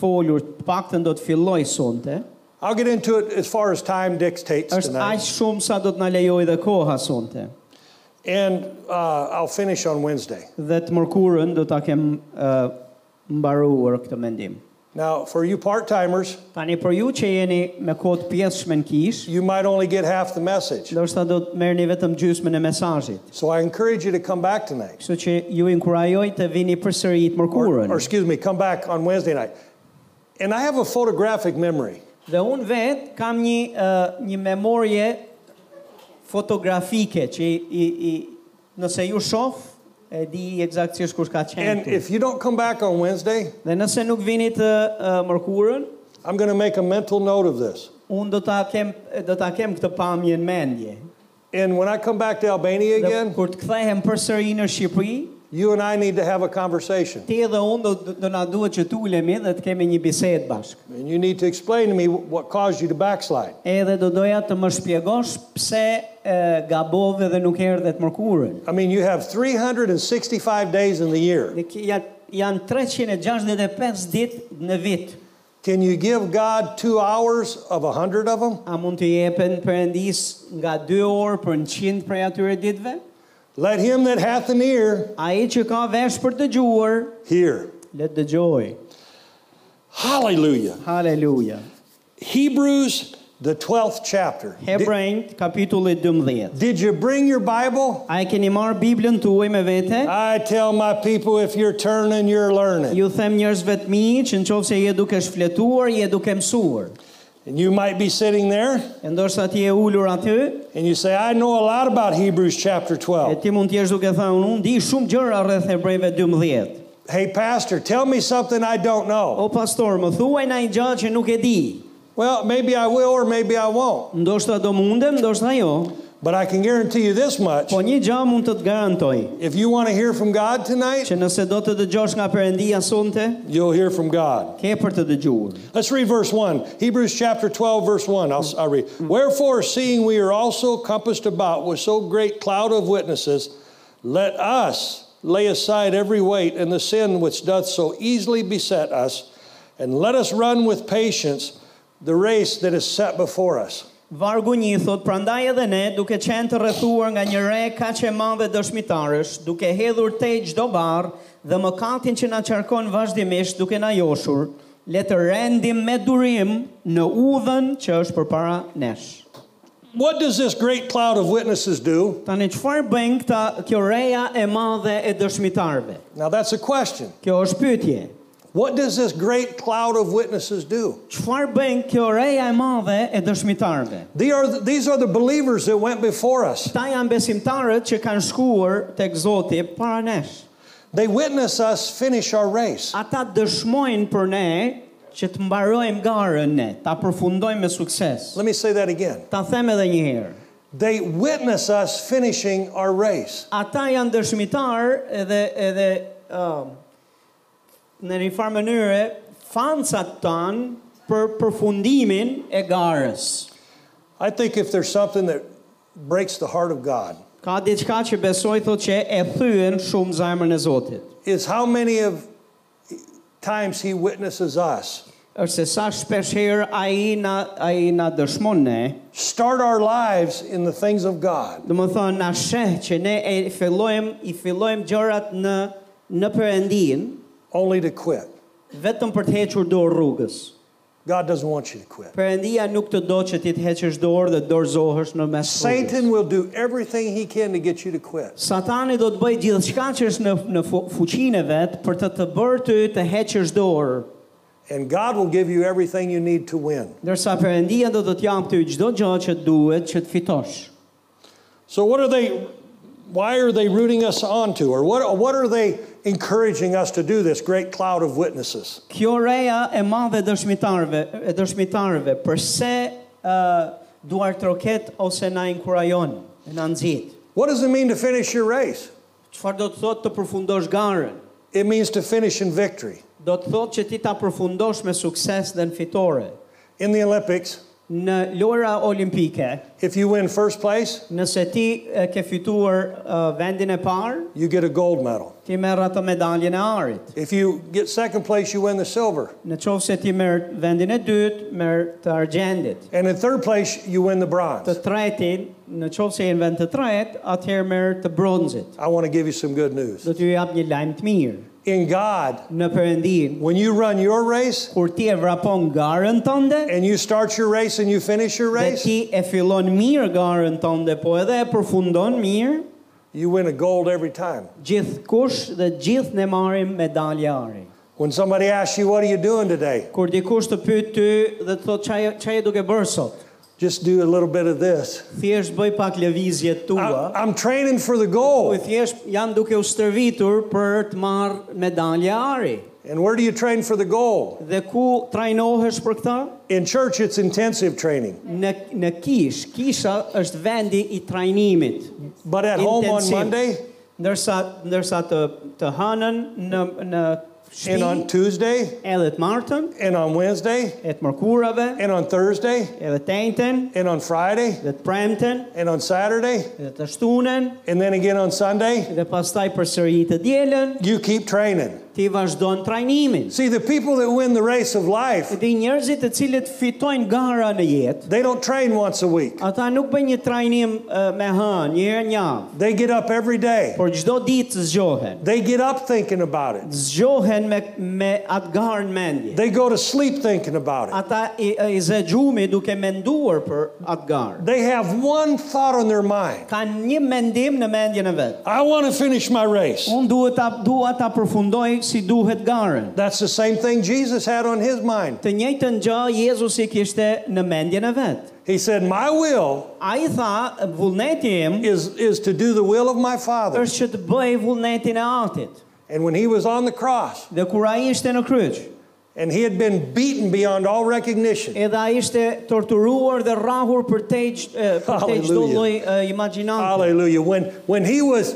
S1: folur, të paktën do të filloj sonte,
S2: I'll get into it as far as time dictates
S1: është
S2: tonight,
S1: aq shumë sa do të na lejojë dhe koha sonte.
S2: and uh, I'll finish on Wednesday.
S1: dhe të mërkurën do ta kem uh, mbaruar këtë mendim.
S2: Now, for you part timers,
S1: Tani për ju që jeni me kohë të pjesëshme në kish,
S2: you might only get half the message.
S1: ndoshta do të merrni vetëm gjysmën e mesazhit.
S2: So I encourage you to come back tonight,
S1: Kështu që ju inkurajoj të vini përsëri të
S2: or,
S1: mërkurën.
S2: or excuse me, come back on Wednesday night. And I have a photographic memory.
S1: Dhe unë vetë kam një uh, një memorje fotografike që i, i, i nëse ju shoh e di eksaktësisht kush ka qenë.
S2: And
S1: këtu.
S2: if you don't come back on Wednesday,
S1: Dhe nëse nuk vini të uh, mërkurën,
S2: I'm going to make a mental note of this.
S1: unë do ta kem do ta kem këtë pamje në mendje.
S2: And when I come back to Albania
S1: Dhe
S2: again,
S1: kur të kthehem përsëri në Shqipëri,
S2: you and I need to have a conversation.
S1: ti dhe unë do, do na duhet që të ulemi dhe të kemi një bisedë bashkë.
S2: And you need to explain to me what caused you to backslide.
S1: Edhe do doja të më shpjegosh pse e, gabove dhe nuk erdhe të mërkurën.
S2: I mean, you have 365 days in the year.
S1: Dhe ki- ja- janë 365 ditë në vit.
S2: Can you give God two hours of a 100 of them?
S1: A mund të jepen Perëndis nga 2 orë për 100 prej atyre ditëve?
S2: Let him that hath an ear
S1: Ai që ka vesh për të dëgjuar,
S2: hear.
S1: le të dëgjojë.
S2: Hallelujah.
S1: Haleluja.
S2: Hebrews, the 12th chapter. Did,
S1: Hebrejt kapitulli 12.
S2: did you bring your Bible?
S1: A e keni marë Biblën tuaj me vete?
S2: I tell my people if you're turning, you're learning.
S1: Ju them njerëzve të mi që në qovë se je duke shfletuar, je duke mësuar.
S2: And you might be sitting there
S1: E ndoshta ti je ulur aty,
S2: and you say, I know a lot about Hebrews chapter
S1: e
S2: 12.
S1: ti mund t'jesh duke thënë, unë di shumë gjëra rreth Hebrejve 12.
S2: Hey, Pastor, tell me something I don't know.
S1: O pastor, më thuaj na i gjë që nuk e di.
S2: Well, maybe I will or maybe I won't.
S1: Ndoshta do mundem, ndoshta jo,
S2: But I can guarantee you this much.
S1: po një gjë mund të të garantoj,
S2: If you want to hear from God tonight,
S1: që nëse do të dëgjosh nga Perëndia sonte,
S2: you'll hear from God.
S1: ke për të dëgjuar.
S2: Let's read verse 1. Hebrews chapter 12, verse 1. I'll, I'll read. Wherefore, seeing we are also compassed about with so great cloud of witnesses, let us lay aside every weight and the sin which doth so easily beset us, and let us run with patience the race that is set before us.
S1: Vargu një thot, prandaj edhe ne, duke qenë të rrethuar nga një re ka që madhe dëshmitarësh, duke hedhur te çdo barr dhe mëkatin që na qarkon vazhdimisht duke na joshur, le të rendim me durim në udhën që është përpara nesh.
S2: What does this great cloud of witnesses do?
S1: Tani çfarë bën këta kjo reja e madhe e dëshmitarëve?
S2: Now, that's a question.
S1: Kjo është pyetje.
S2: What does this great cloud of witnesses do?
S1: Çfarë bën kjo reja e madhe e dëshmitarëve?
S2: They are, these are the believers that went before us.
S1: Këta janë besimtarët që kanë shkuar tek Zoti para nesh.
S2: They witness us finish our race.
S1: ata dëshmojnë për ne që të mbarojmë garën ne, ta përfundojmë me sukses.
S2: Let me say that again.
S1: Ta them edhe një herë.
S2: They witness us finishing our race.
S1: Ata janë dëshmitar edhe edhe um, në një farë mënyre fancat tanë për përfundimin e garës.
S2: I think if there's something that breaks the heart of God
S1: Ka diçka që besoj thotë që e thyen shumë zemrën e Zotit.
S2: is how many of times he witnesses us.
S1: Është se sa shpesh herë ai na ai na dëshmon ne.
S2: Start our lives in the things of God.
S1: Do të thonë na sheh që ne e fillojmë i fillojmë gjërat në në Perëndin
S2: only to quit.
S1: vetëm për të hequr dorë rrugës.
S2: God doesn't want you to quit.
S1: Perëndia nuk të do që ti të heqësh dorë dhe dorëzohesh në mes rrugës.
S2: Satan will do everything he can to get you to quit.
S1: Satani do të bëj gjithçka që është në në fu- fuqinë e vet për të të bërë ty të heqësh dorë,
S2: And God will give you everything you need to win.
S1: ndërsa Perëndia do të të jap ty çdo gjë që duhet që të fitosh.
S2: So what are they why are they rooting us on to? Or what what are they encouraging us to do this great cloud of witnesses?
S1: Kjo reja e madhe e dëshmitarëve, e dëshmitarëve, përse uh, duar troket ose na inkurajon, na nxit.
S2: What does it mean to finish your race?
S1: Çfarë do të thotë të përfundosh garën?
S2: It means to finish in victory.
S1: Do të thotë që ti ta përfundosh me sukses dhe në fitore.
S2: In the Olympics,
S1: Në lojra olimpike,
S2: if you win first place,
S1: nëse ti e, ke fituar uh, vendin e parë,
S2: you get a gold medal.
S1: ti merr atë medaljen e arit.
S2: If you get second place, you win the silver.
S1: Në qovë se ti merr vendin e dytë, merr të argjendit.
S2: And in third place, you win the
S1: Të
S2: bronze.
S1: tretin, në qovë se je në vend të tret, atëherë merr të bronzit.
S2: I want to give you some good news.
S1: do t'ju jap një lajm të mirë
S2: In God,
S1: në Perëndin.
S2: when you run your race
S1: Kur ti e vrapon garën tënde,
S2: and you start your race and you finish your
S1: dhe
S2: race,
S1: ti e fillon mirë garën tënde, po edhe e përfundon mirë,
S2: you win a gold every time.
S1: gjithkush dhe gjithë ne marrim medalje ari.
S2: When somebody asks you, What are you doing today?
S1: Kur dikush të pyet ty dhe të thotë çaj çaj duke bërë sot,
S2: Just do a little bit of this.
S1: thjesht bëj pak lëvizje
S2: I,
S1: tua.
S2: I'm training for the
S1: Po
S2: goal.
S1: thjesht jam duke u stërvitur për të marrë medalje ari.
S2: And where do you train for the goal?
S1: Dhe ku trajnohesh për këtë?
S2: In church, it's intensive training.
S1: Në në kish. Kisha është vendi i trajnimit.
S2: But at home on
S1: Intensive.
S2: Monday
S1: Ndërsa ndërsa të të hënën në në
S2: and on
S1: shtëpi
S2: Tuesday
S1: edhe të martën,
S2: and on Wednesday
S1: e të mërkurave,
S2: and on Thursday
S1: edhe të njëjtën,
S2: and on Friday
S1: dhe të premten,
S2: and on Saturday
S1: dhe të shtunën,
S2: and then again on Sunday,
S1: dhe pastaj përsëri të dielën,
S2: you keep training.
S1: ti vazhdon trajnimin.
S2: See, the people that win the race of life,
S1: Dhe njerëzit të cilët fitojnë gara në jetë,
S2: they don't train once a week.
S1: ata nuk bëjnë një trajnim eh, me hënë, një herë në javë,
S2: They get up every day.
S1: por çdo ditë zgjohen.
S2: They get up thinking about it.
S1: Zgjohen me me atë garën mendje.
S2: They go to sleep thinking about it.
S1: Ata i, i zëgjumi duke menduar për atë garë.
S2: They have one thought on their mind
S1: ka një mendim në mendjen e vet.
S2: I want to finish my race.
S1: Unë duhet ta dua ta përfundoj si duhet garën.
S2: That's the same thing Jesus had on his mind.
S1: Të njëjtën gjë Jezusi kishte në mendjen e vet.
S2: He said, My will
S1: Ai tha, vullneti im
S2: is, is to do the will of my Father.
S1: është që të bëj vullnetin e Atit.
S2: And when he was on the cross
S1: Dhe kur ai ishte në kryq,
S2: and he had been beaten beyond all recognition,
S1: edhe ai ishte torturuar dhe rrahur për te gjë- eh, për te çdo
S2: Hallelujah.
S1: lloj eh, imagjinante.
S2: hallelujah, when, when he was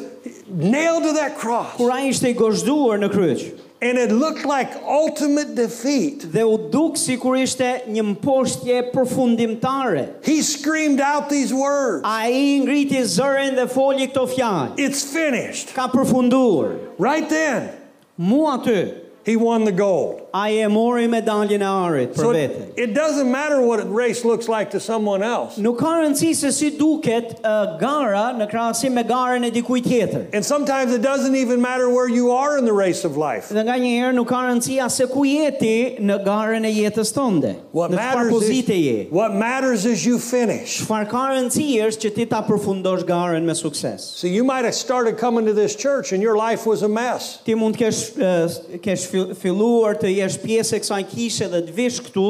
S2: nailed to that cross
S1: Kur ai ishte i gozhduar në kryq
S2: and it looked like ultimate defeat,
S1: dhe u duk sikur ishte një mposhtje përfundimtare.
S2: he screamed out these words
S1: Ai ngriti zërin dhe foli këto fjalë.
S2: It's finished.
S1: ka përfunduar.
S2: Right then,
S1: Mu aty,
S2: he won the gold.
S1: a e mori medaljen e arit për
S2: So
S1: vete.
S2: it, it doesn't matter what a race looks like to someone else.
S1: Nuk ka rëndësi se si duket uh, gara në krahasim me garën e dikujt tjetër.
S2: And sometimes it doesn't even matter where you are in the race of life.
S1: Dhe nga një herë nuk ka rëndësi as se ku jeti në garën e jetës tënde.
S2: What
S1: në çfarë
S2: matters
S1: pozite je.
S2: is, what matters is you finish.
S1: Çfarë ka rëndësi është që ti ta përfundosh garën me sukses.
S2: So you might have started coming to this church and your life was a mess.
S1: Ti mund kesh uh, kesh fill- filluar të jesh pjesë e kësaj kishe dhe të vish këtu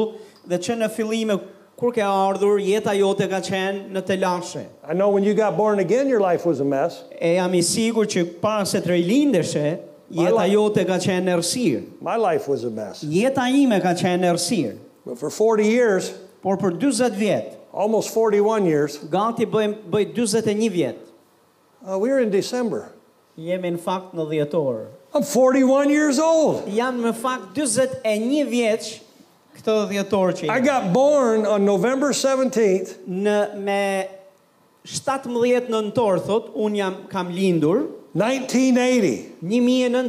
S1: dhe që në fillime kur ke ardhur jeta jote ka qenë në telashe.
S2: I know when you got born again, your life was a mess.
S1: E jam i sigur që para se të rilindeshe, jeta
S2: life-
S1: jote ka qenë në errësirë.
S2: My life was a mess.
S1: Jeta ime ka qenë në errësirë.
S2: But for 40 years,
S1: Por për 40 vjet,
S2: almost 41 years,
S1: gati bëjmë bëj 41 vjet.
S2: uh, we were in December.
S1: Jemi në fakt në dhjetor.
S2: I'm 41 years old.
S1: Jam në fakt 41 vjeç këtë dhjetor që
S2: I
S1: jam.
S2: got born on November 17th,
S1: Në me 17 nëntor thot, un jam kam lindur
S2: 1980.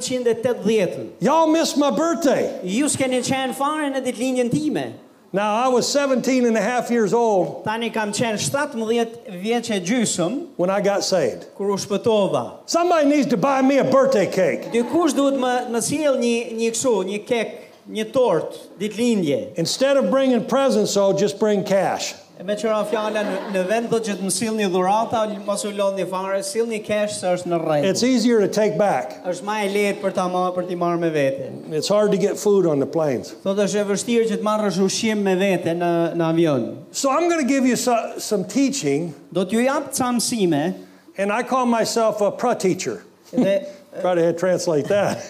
S1: 1980.
S2: Y'all missed my birthday.
S1: Ju s'keni qenë fare në ditëlindjen time.
S2: Now, I was 17 and a half years old
S1: Tani kam qenë 17 vjeç e gjysëm
S2: when I got saved.
S1: kur u shpëtova.
S2: Somebody needs to buy me a birthday cake.
S1: Dikush duhet më më sjell një një kështu, një kek, një tort ditëlindje.
S2: Instead of bringing presents, I'll just bring cash.
S1: E Me qëra fjala në, në vend do që të më sillni dhurata, mos u lodhni fare, sillni cash se është në rregull.
S2: It's easier to take back.
S1: Është më e lehtë për ta marrë për t'i marrë me vete.
S2: It's hard to get food on the planes.
S1: Sot është e vështirë që të marrësh ushqim me vete në në avion.
S2: So I'm going to give you so, some teaching,
S1: Do t'ju jap ca mësime
S2: and I call myself a pra teacher.
S1: dhe
S2: Try to translate that.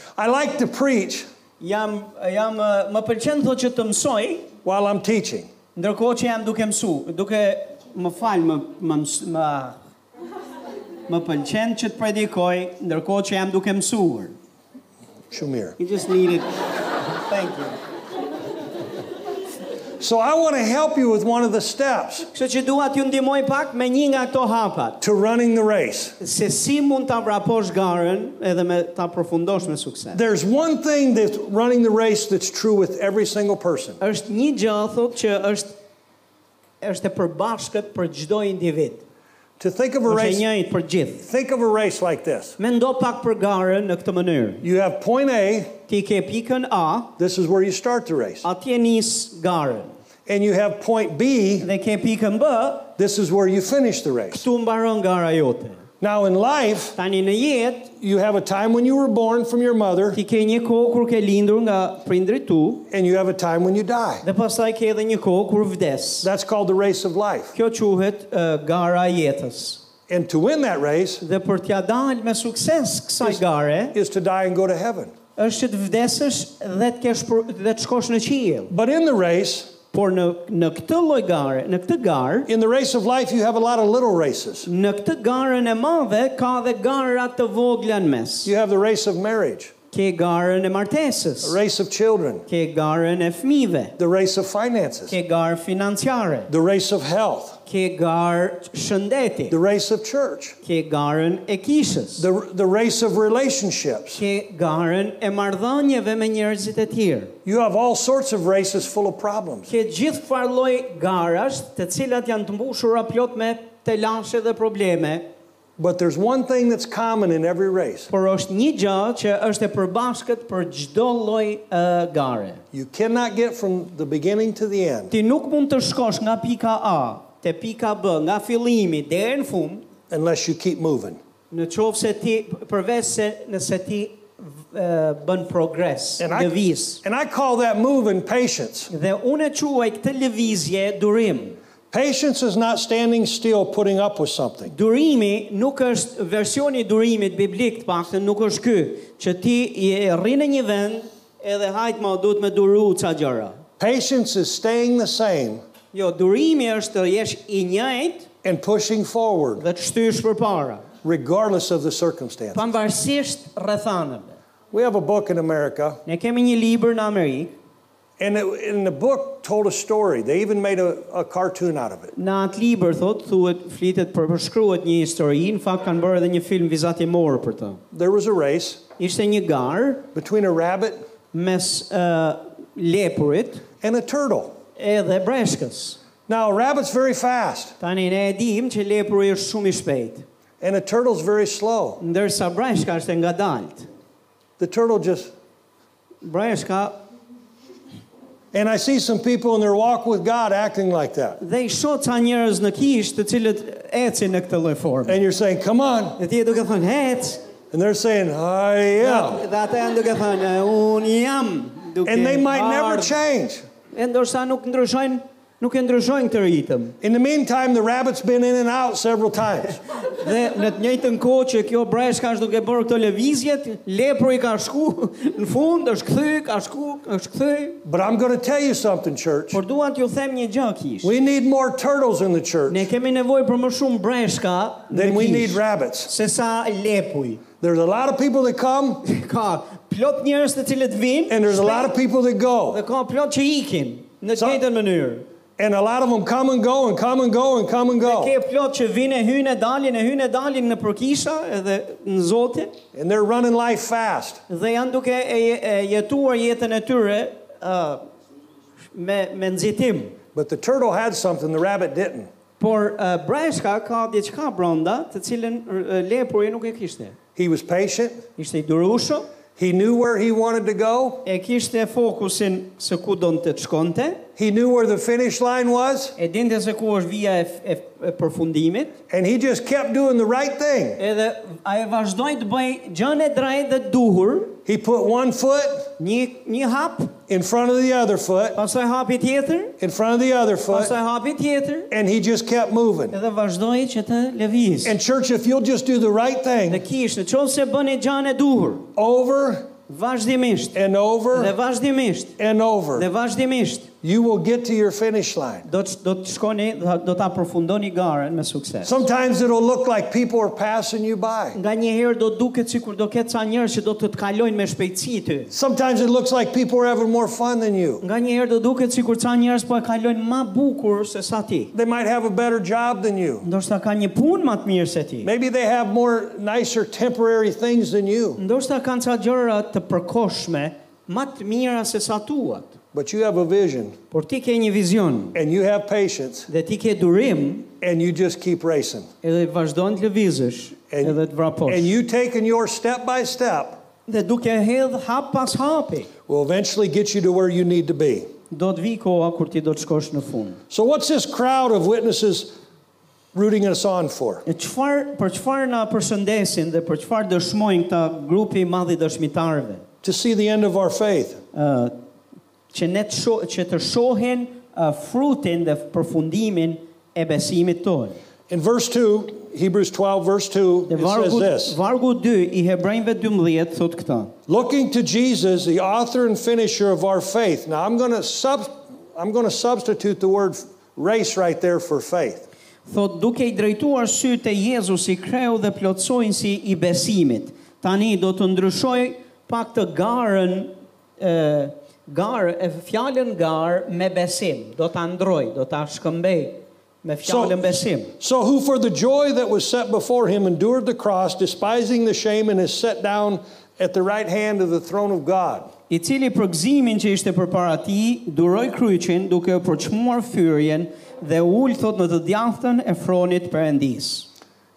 S2: I like to preach
S1: jam jam eh, më pëlqen thotë që të mësoj
S2: while I'm teaching.
S1: ndërkohë që jam duke mësu, duke më fal më më mës- më më pëlqen që të predikoj ndërkohë që jam duke mësuar.
S2: Shamir.
S1: You just need it. Thank you.
S2: So I want to help you with one of the steps
S1: Kështu që dua t'ju ndihmoj pak me një nga këto hapat,
S2: to running the race.
S1: se si mund ta vraposh garën edhe me ta përfundosh me sukses.
S2: There's one thing that's running the race that's true with every single person.
S1: është një gjë thot që është është e përbashkët për çdo individ.
S2: To think of a
S1: Është e
S2: race,
S1: njëjtë për gjithë.
S2: think of a race like this.
S1: Mendo pak për garën në këtë mënyrë.
S2: You have point A,
S1: Ti ke pikën A,
S2: this is where you start the race.
S1: atje nis garën.
S2: And you have point B,
S1: Dhe ke pikën B,
S2: this is where you finish the race.
S1: këtu mbaron gara jote.
S2: Now in life,
S1: Tani në jetë
S2: you have a time when you were born from your mother
S1: ti ke një kohë kur ke lindur nga prindrit tu
S2: and you have a time when you die.
S1: dhe pastaj ke edhe një kohë kur vdes.
S2: That's called the race of life.
S1: Kjo quhet uh, gara e jetës.
S2: And to win that race
S1: Dhe për t'ja dalë me sukses kësaj gare,
S2: is to die and go to heaven.
S1: është që të vdesësh dhe të kesh për, dhe të shkosh në qiell.
S2: But in the race,
S1: Por në në këtë lloj gare, në këtë garë,
S2: in the race of life, you have a lot of little races.
S1: në këtë garën e madhe ka dhe gara të vogla në mes.
S2: You have the race of marriage,
S1: Ke garën e
S2: the
S1: martesës,
S2: race of children,
S1: ke garën e fëmijëve,
S2: the race of finances,
S1: ke garë financiare,
S2: the race of health,
S1: ke garë shëndeti,
S2: the race of church,
S1: ke garën e kishës,
S2: the, the race of relationships.
S1: ke garën e marrëdhënieve me njerëzit e tjerë.
S2: You have all sorts of races full of problems.
S1: Ke gjithë farë lloj garash, të cilat janë të mbushura plot me telashe dhe probleme,
S2: But there's one thing that's common in every race
S1: por është një gjë që është e përbashkët për çdo lloj ë, gare.
S2: you cannot get from the beginning to the end
S1: Ti nuk mund të shkosh nga pika A te pika B, nga fillimi deri në fund,
S2: unless you keep moving.
S1: në qovë se ti, përveç se nëse ti v- ë, bën progres,
S2: And I,
S1: lëviz.
S2: and I call that moving patience.
S1: Dhe unë e quaj këtë lëvizje durim.
S2: Patience is not standing still, putting up with something.
S1: Durimi nuk është versioni i durimit biblik të paktën nuk është ky, që ti je rri në një vend edhe hajt më duhet me duru ca gjëra.
S2: Patience is staying the same
S1: Jo, durimi është të jesh i njëjtë
S2: and pushing forward
S1: dhe të shtysh përpara,
S2: regardless of the circumstance.
S1: pavarësisht rrethanave.
S2: We have a book in America,
S1: Ne kemi një libër në Amerikë,
S2: and, it, and the book told a story. They even made a, a cartoon out of it.
S1: në atë libër thot, thuhet flitet për përshkruhet një histori, në fakt kanë bërë edhe një film vizatimor për të.
S2: There was a race
S1: Ishte një garë
S2: between a rabbit
S1: mes uh, lepurit
S2: and a turtle.
S1: edhe breshkës.
S2: Now, a rabbit's very fast,
S1: Tani ne e dim që lepuri është shumë i shpejtë,
S2: and a turtle's very slow.
S1: ndërsa breshka është e ngadaltë.
S2: The turtle just,
S1: Breshka
S2: and I see some people in their walk with God acting like that.
S1: dhe i shoh ca njerëz në kishë të cilët ecin në këtë lloj forme.
S2: And you're saying, come on.
S1: Dhe ti e duke thënë, hec,
S2: And they're saying, I am.
S1: Dhe ata janë duke thënë, unë jam duke
S2: And they might never
S1: ardhur."
S2: change.
S1: E ndoshta nuk ndryshojnë, nuk e ndryshojnë këtë ritëm.
S2: In the meantime, the rabbit's been in and out several times.
S1: Dhe në të njëjtën kohë që kjo breshka është duke bërë këto lëvizjet, lepri ka shku në fund, është kthy, ka shku, është kthy.
S2: But I'm going to tell you something, church.
S1: Por dua t'ju them një gjë kish.
S2: We need more turtles in the church
S1: Ne kemi nevojë për më shumë breshka në
S2: than we need
S1: kishë
S2: rabbits.
S1: se sa lepuj.
S2: There's a lot of people that come,
S1: Ka plot njerëz të cilët vinë
S2: and there's a lot of people that
S1: dhe
S2: go.
S1: ka plot që ikin në të
S2: Sa-
S1: njëjtën mënyrë.
S2: And a lot of them come and go and come and go and come and go.
S1: Ke plot që vinë e hynë e dalin, e hynë e dalin në përkisha edhe në Zotin
S2: And they're running life fast.
S1: dhe janë duke e, e jetuar jetën e tyre ë, me, me nxitim.
S2: But the turtle had something the rabbit didn't.
S1: Por uh, breshka ka diçka brenda, të cilën uh, lepuri nuk e kishte.
S2: He was patient.
S1: Ishte i durueshëm,
S2: He knew where he wanted to go.
S1: e kishte fokusin se ku donte të shkonte,
S2: He knew where the finish line was.
S1: e dinte se ku është vija e, f- e, f- e përfundimit,
S2: And he just kept doing the right thing.
S1: edhe ai vazhdoi të bëj gjën e drejtë dhe të duhur,
S2: He put one foot
S1: një një hap,
S2: in front of the other foot,
S1: pastaj hapi tjetër,
S2: in front of the other foot,
S1: pastaj hapi tjetër,
S2: and he just kept moving.
S1: edhe vazhdoi që të lëviz.
S2: And, church, if you'll just do the right
S1: Dhe
S2: thing
S1: kishte, nëse bëni gjën e duhur,
S2: over
S1: vazhdimisht,
S2: and
S1: dhe
S2: over
S1: vazhdimisht,
S2: and
S1: dhe
S2: over,
S1: vazhdimisht,
S2: you will get to your finish line.
S1: do të do të shkoni do ta përfundoni garën me sukses.
S2: Sometimes it'll look like people are passing you by.
S1: Nga një herë do duket sikur do ketë ca njerëz që do të të kalojnë me shpejtësi ty.
S2: Sometimes it looks like people are having more fun than you.
S1: Nga një herë do duket sikur ca njerëz po e kalojnë më bukur se sa ti.
S2: They might have a better job than you.
S1: Ndoshta ka një punë më të mirë se ti.
S2: Maybe they have more nicer temporary things than you.
S1: Ndoshta kanë ca gjëra të përkohshme më të mira se sa tuat.
S2: But you have a vision
S1: Por ti ke një vizion
S2: and you have patience
S1: dhe ti ke durim
S2: and you just keep racing.
S1: edhe vazhdon të lëvizësh
S2: And,
S1: edhe të vraposh.
S2: and you taking your step by step
S1: Dhe duke hedh hap pas hapi,
S2: will eventually get you to where you need to be.
S1: do të vi koha kur ti do të shkosh në fund.
S2: So, what's this crowd of witnesses rooting us on for?
S1: E çfar për çfarë na përshëndesin dhe për çfarë dëshmojnë këta grupi i madh i dëshmitarëve?
S2: To see the end of our faith.
S1: ë që ne të sho, që të shohin uh, frutin dhe përfundimin e besimit tonë.
S2: In verse 2, Hebrews 12, verse 2,
S1: Dhe
S2: it says
S1: vargu
S2: this
S1: vargu 2 i Hebrejve 12 thot këtë.
S2: Looking to Jesus, the author and finisher of our faith. Now, I'm going to sub, I'm going to substitute the word race right there for faith.
S1: Thot duke i drejtuar sy te Jezusi kreu dhe plotësojnë si i besimit. Tani do të ndryshoj pak të garën ë garë e fjalën garë me besim. Do ta ndroj, do ta shkëmbej me fjalën besim.
S2: So, who for the joy that was set before him endured the cross, despising the shame, and is set down at the right hand of the throne of God.
S1: i cili për gëzimin që ishte përpara tij duroi kryqin duke e përçmuar fyrjen dhe ul thot në të djathtën e fronit perëndis.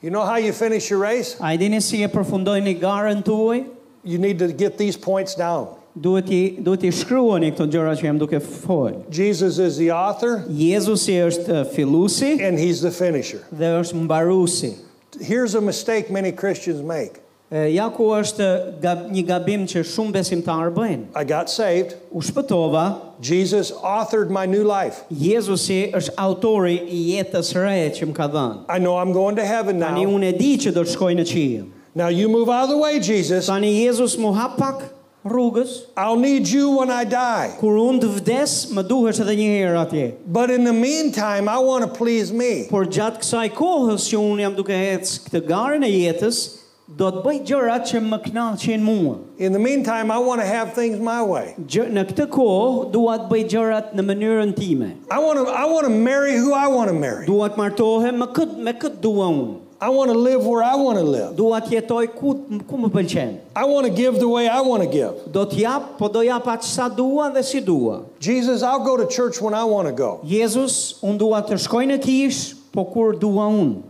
S2: You know how you finish your race?
S1: A i dini si e përfundojnë garën tuaj?
S2: You need to get these points down.
S1: Duhet i duhet i shkruani këto gjëra që jam duke fol.
S2: Jesus is the author
S1: Jezusi është eh, filluesi
S2: and he's the finisher.
S1: dhe është mbaruesi.
S2: Here's a mistake many Christians make
S1: Eh, Ja ku është eh, gab- një gabim që shumë besimtarë bëjnë.
S2: I got saved.
S1: U shpëtova,
S2: Jesus authored my new life.
S1: Jezusi është autori i jetës re që më ka dhënë.
S2: I know I'm going to heaven
S1: Tani
S2: now.
S1: unë e di që do të shkoj në qiell.
S2: Now you move out of the way, Jesus.
S1: Tani Jezus mu hap pak rrugës,
S2: I'll need you when I die.
S1: kur unë të vdes, më duhesh edhe një herë atje.
S2: But in the meantime, I want to please me.
S1: Por gjatë kësaj kohës që unë jam duke ecë këtë garën e jetës, do të bëj gjërat që më kënaqin mua.
S2: In the meantime, I want to have things my way.
S1: Gjë, në këtë kohë dua të bëj gjërat në mënyrën time.
S2: I want to I want to marry who I want to marry.
S1: Dua të martohem me kët me kët dua unë.
S2: I want to live where I want to live.
S1: Dua të jetoj ku ku më pëlqen.
S2: I want to give the way I want to give.
S1: Do të jap, po do jap atë sa dua dhe si dua.
S2: Jesus, I'll go to church when I want to go.
S1: Jezus, unë dua të shkoj në kish, po kur dua unë.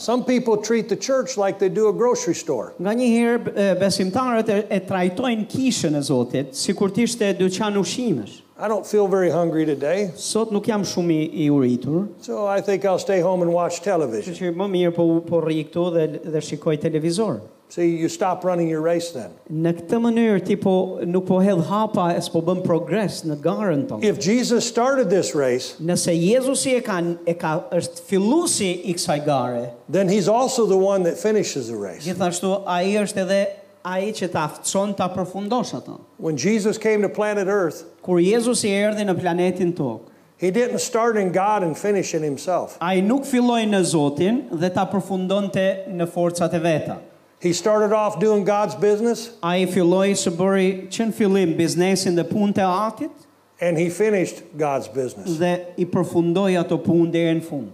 S2: Some people treat the church like they do a grocery store.
S1: Nga një herë b- e, besimtarët e, e trajtojnë kishën e Zotit si kur t'ishte dyqan ushimesh.
S2: I don't feel very hungry today,
S1: Sot nuk jam shumë i, i uritur,
S2: so I think I'll stay home and watch
S1: që
S2: television.
S1: që më mirë po, po rri këtu dhe, dhe shikoj televizor.
S2: See, you stop running your race then.
S1: Në këtë mënyrë ti po nuk po hedh hapa e s'po bën progres në garën tonë.
S2: If Jesus started this race,
S1: Nëse Jezusi e ka, e ka është fillusi i kësaj gare,
S2: then he's also the one that finishes the race.
S1: gjithashtu ai është edhe ai që ta aftëson ta përfundosh atë.
S2: When Jesus came to planet Earth,
S1: Kur Jezusi erdhi në planetin tokë,
S2: he didn't start in God and finish in himself.
S1: A i nuk filloj në Zotin dhe ta përfundonte në forcat e veta.
S2: He started off doing God's business,
S1: A i filloj së bëri që në fillim biznesin dhe punë të atit
S2: and he finished God's business.
S1: dhe i përfundoi ato punë deri në fund.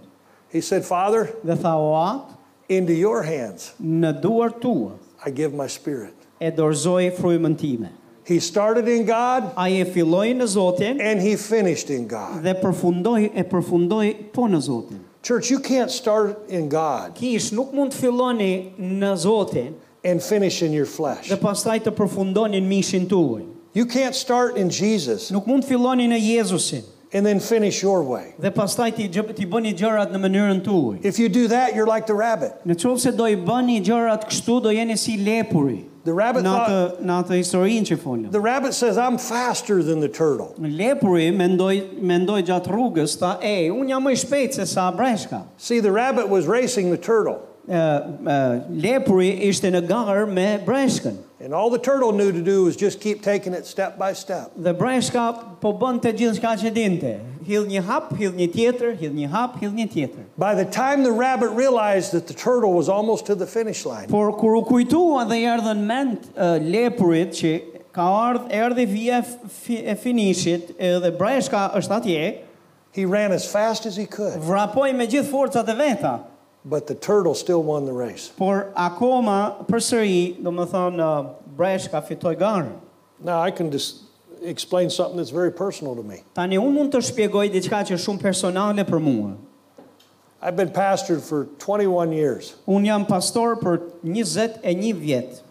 S2: He said, Father,
S1: Dhe tha o atë,
S2: into your hands
S1: në duart tua
S2: I give my spirit.
S1: e dorëzoj frymën time.
S2: He started in God
S1: Ai e filloi në Zotin
S2: and he finished in God.
S1: dhe përfundoi e përfundoi po në Zotin.
S2: Church, you can't start in God
S1: Kish nuk mund të filloni në Zotin
S2: and finish in your flesh.
S1: dhe pastaj të përfundoni në mishin tuaj.
S2: You can't start in Jesus
S1: Nuk mund të filloni në Jezusin
S2: and then finish your way.
S1: dhe pastaj ti gjë- ti bëni gjërat në mënyrën tuaj.
S2: If you do that, you're like the rabbit.
S1: Në qovë se do i bëni gjërat kështu, do jeni si lepuri.
S2: The rabbit
S1: Në atë,
S2: thought,
S1: në atë historinë që folëm.
S2: the rabbit says, I'm faster than the turtle.
S1: Lepuri mendoj, mendoj gjatë rrugës, ta, e, unë jam më i shpejtë se sa breshka.
S2: See, the rabbit was racing the turtle,
S1: E, e, lepuri ishte në garë me breshkën.
S2: and all the turtle knew to do was just keep taking it step by step.
S1: Dhe breshka po bënd të gjithë shka që dinte. Hill një hap, hill një tjetër, hill një hap, hill një tjetër.
S2: By the time the rabbit realized that the turtle was almost to the finish line,
S1: Por kur u kujtua dhe i ardhën mend e, lepurit që ka ardhë, erdhi vija e fi- e finishit e, dhe breshka është atje,
S2: he ran as fast as he could,
S1: vrapoj me gjithë forcat e veta.
S2: but the turtle still won the race.
S1: Por akoma përsëri, do më thonë, ë, breshka fitoj garën.
S2: Now, I can just explain something that's very personal to me.
S1: Tani unë mund të shpjegoj diçka që është shumë personale për mua.
S2: I've been pastored for 21 years.
S1: Unë jam pastor për 21 vjet.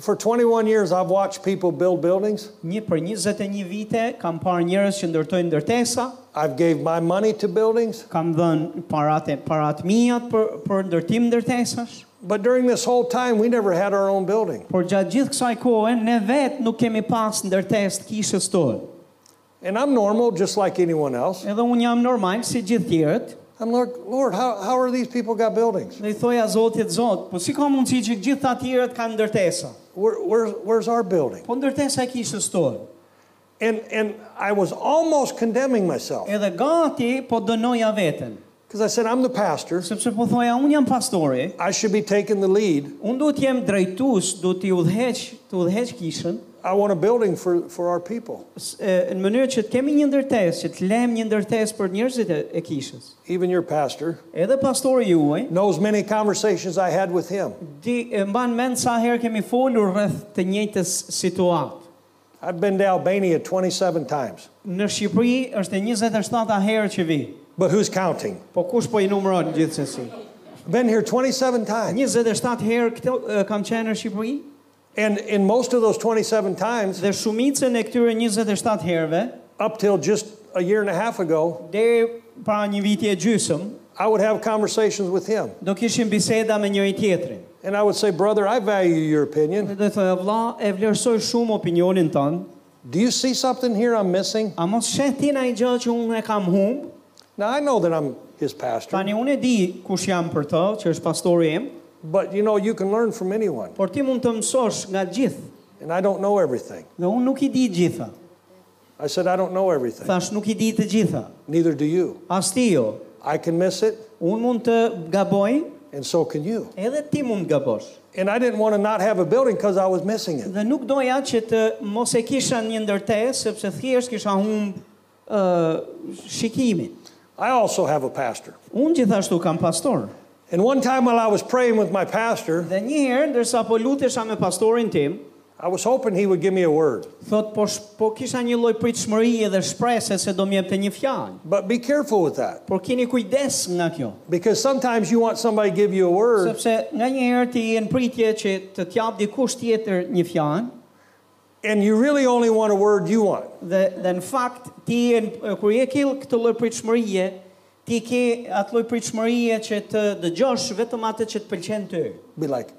S2: For 21 years, I've watched people build buildings.
S1: Një për 21 vite kam parë njerëz që ndërtojnë ndërtesa,
S2: I've gave my money to buildings.
S1: kam dhënë paratë parat mijat për për ndërtim ndërtesash,
S2: But during this whole time, we never had our own building.
S1: por gjatë gjithë kësaj kohe ne vetë nuk kemi pas ndërtesë të kishës tonë.
S2: And I'm normal, just like anyone else.
S1: Edhe unë jam normal si gjithë tjerët.
S2: I'm like, Lord, how, how are these people got buildings?
S1: Dhe i thoja Zotit, Zot, po si ka mundësi që gjithë ta tjerët kanë ndërtesa?
S2: Where, where's, where's our building?
S1: Po ndërtesa e kishës tonë.
S2: And, and I was almost condemning myself
S1: Edhe gati po dënoja veten.
S2: because I said, I'm the pastor.
S1: Sepse po thoja, unë jam pastori,
S2: I should be taking the lead.
S1: unë duhet jem drejtus, duhet t'i udheq, të udheq kishën,
S2: I want a building for, for our people.
S1: s- e, në mënyrë që të kemi një ndërtesë, që të lem një ndërtesë për njerëzit e, e kishës.
S2: Even your pastor
S1: Edhe pastori juaj,
S2: knows many conversations I had with him.
S1: di e mban mend sa herë kemi folur rreth të njëjtës situatë.
S2: I've been to Albania 27 times,
S1: Në Shqipëri është e 27-a herë që vi.
S2: but who's counting?
S1: Po kush po i numëron gjithsesi?
S2: Been here 27 times.
S1: 27 herë këto e, kam qenë në Shqipëri
S2: And in most of those 27 times,
S1: dhe shumicën e këtyre 27 herëve
S2: up till just a year and a half ago,
S1: deri para një viti e gjysmë
S2: I would have conversations with him.
S1: do kishim biseda me njëri tjetrin.
S2: And I would say, Brother, I value your opinion.
S1: Dhe thoya vlla, e vlerësoj shumë opinionin tënd.
S2: Do you see something here I'm missing?
S1: A mos sheh ti ndaj gjë që unë e kam humb?
S2: Now, I know that I'm his pastor,
S1: Tani unë e di kush jam për të, që është pastori im,
S2: but you know, you can learn from anyone.
S1: por ti mund të mësosh nga gjithë.
S2: And I don't know everything.
S1: Dhe unë nuk i di gjitha.
S2: I said, I don't know everything.
S1: Thash nuk i di të gjitha.
S2: Neither do you.
S1: As ti jo.
S2: I can miss it,
S1: Unë mund të gaboj,
S2: and so can you.
S1: edhe ti mund të gabosh.
S2: And I didn't want to not have a building because I was missing it.
S1: Dhe nuk doja që të mos e kisha një ndërtesë, sepse thjesht kisha humb ë shikimin.
S2: I also have a pastor.
S1: Unë gjithashtu kam pastor.
S2: And one time while I was praying with my pastor,
S1: Dhe një herë ndërsa po lutesha me pastorin tim,
S2: I was hoping he would give me a word.
S1: Thot po sh- po kisha një lloj pritshmërie dhe shprese se do më jepte një fjalë.
S2: But be careful with that
S1: Por keni kujdes nga kjo,
S2: because sometimes you want somebody to give you a word
S1: sepse nga një herë ti je në pritje që të t'jap dikush tjetër një fjalë
S2: and you really only want a word you want.
S1: dhe dhe në fakt ti je në- kur je kill këtë lloj pritshmërie, ti ke atë lloj pritshmërie që të dëgjosh vetëm atë që të pëlqen ty.
S2: Be like,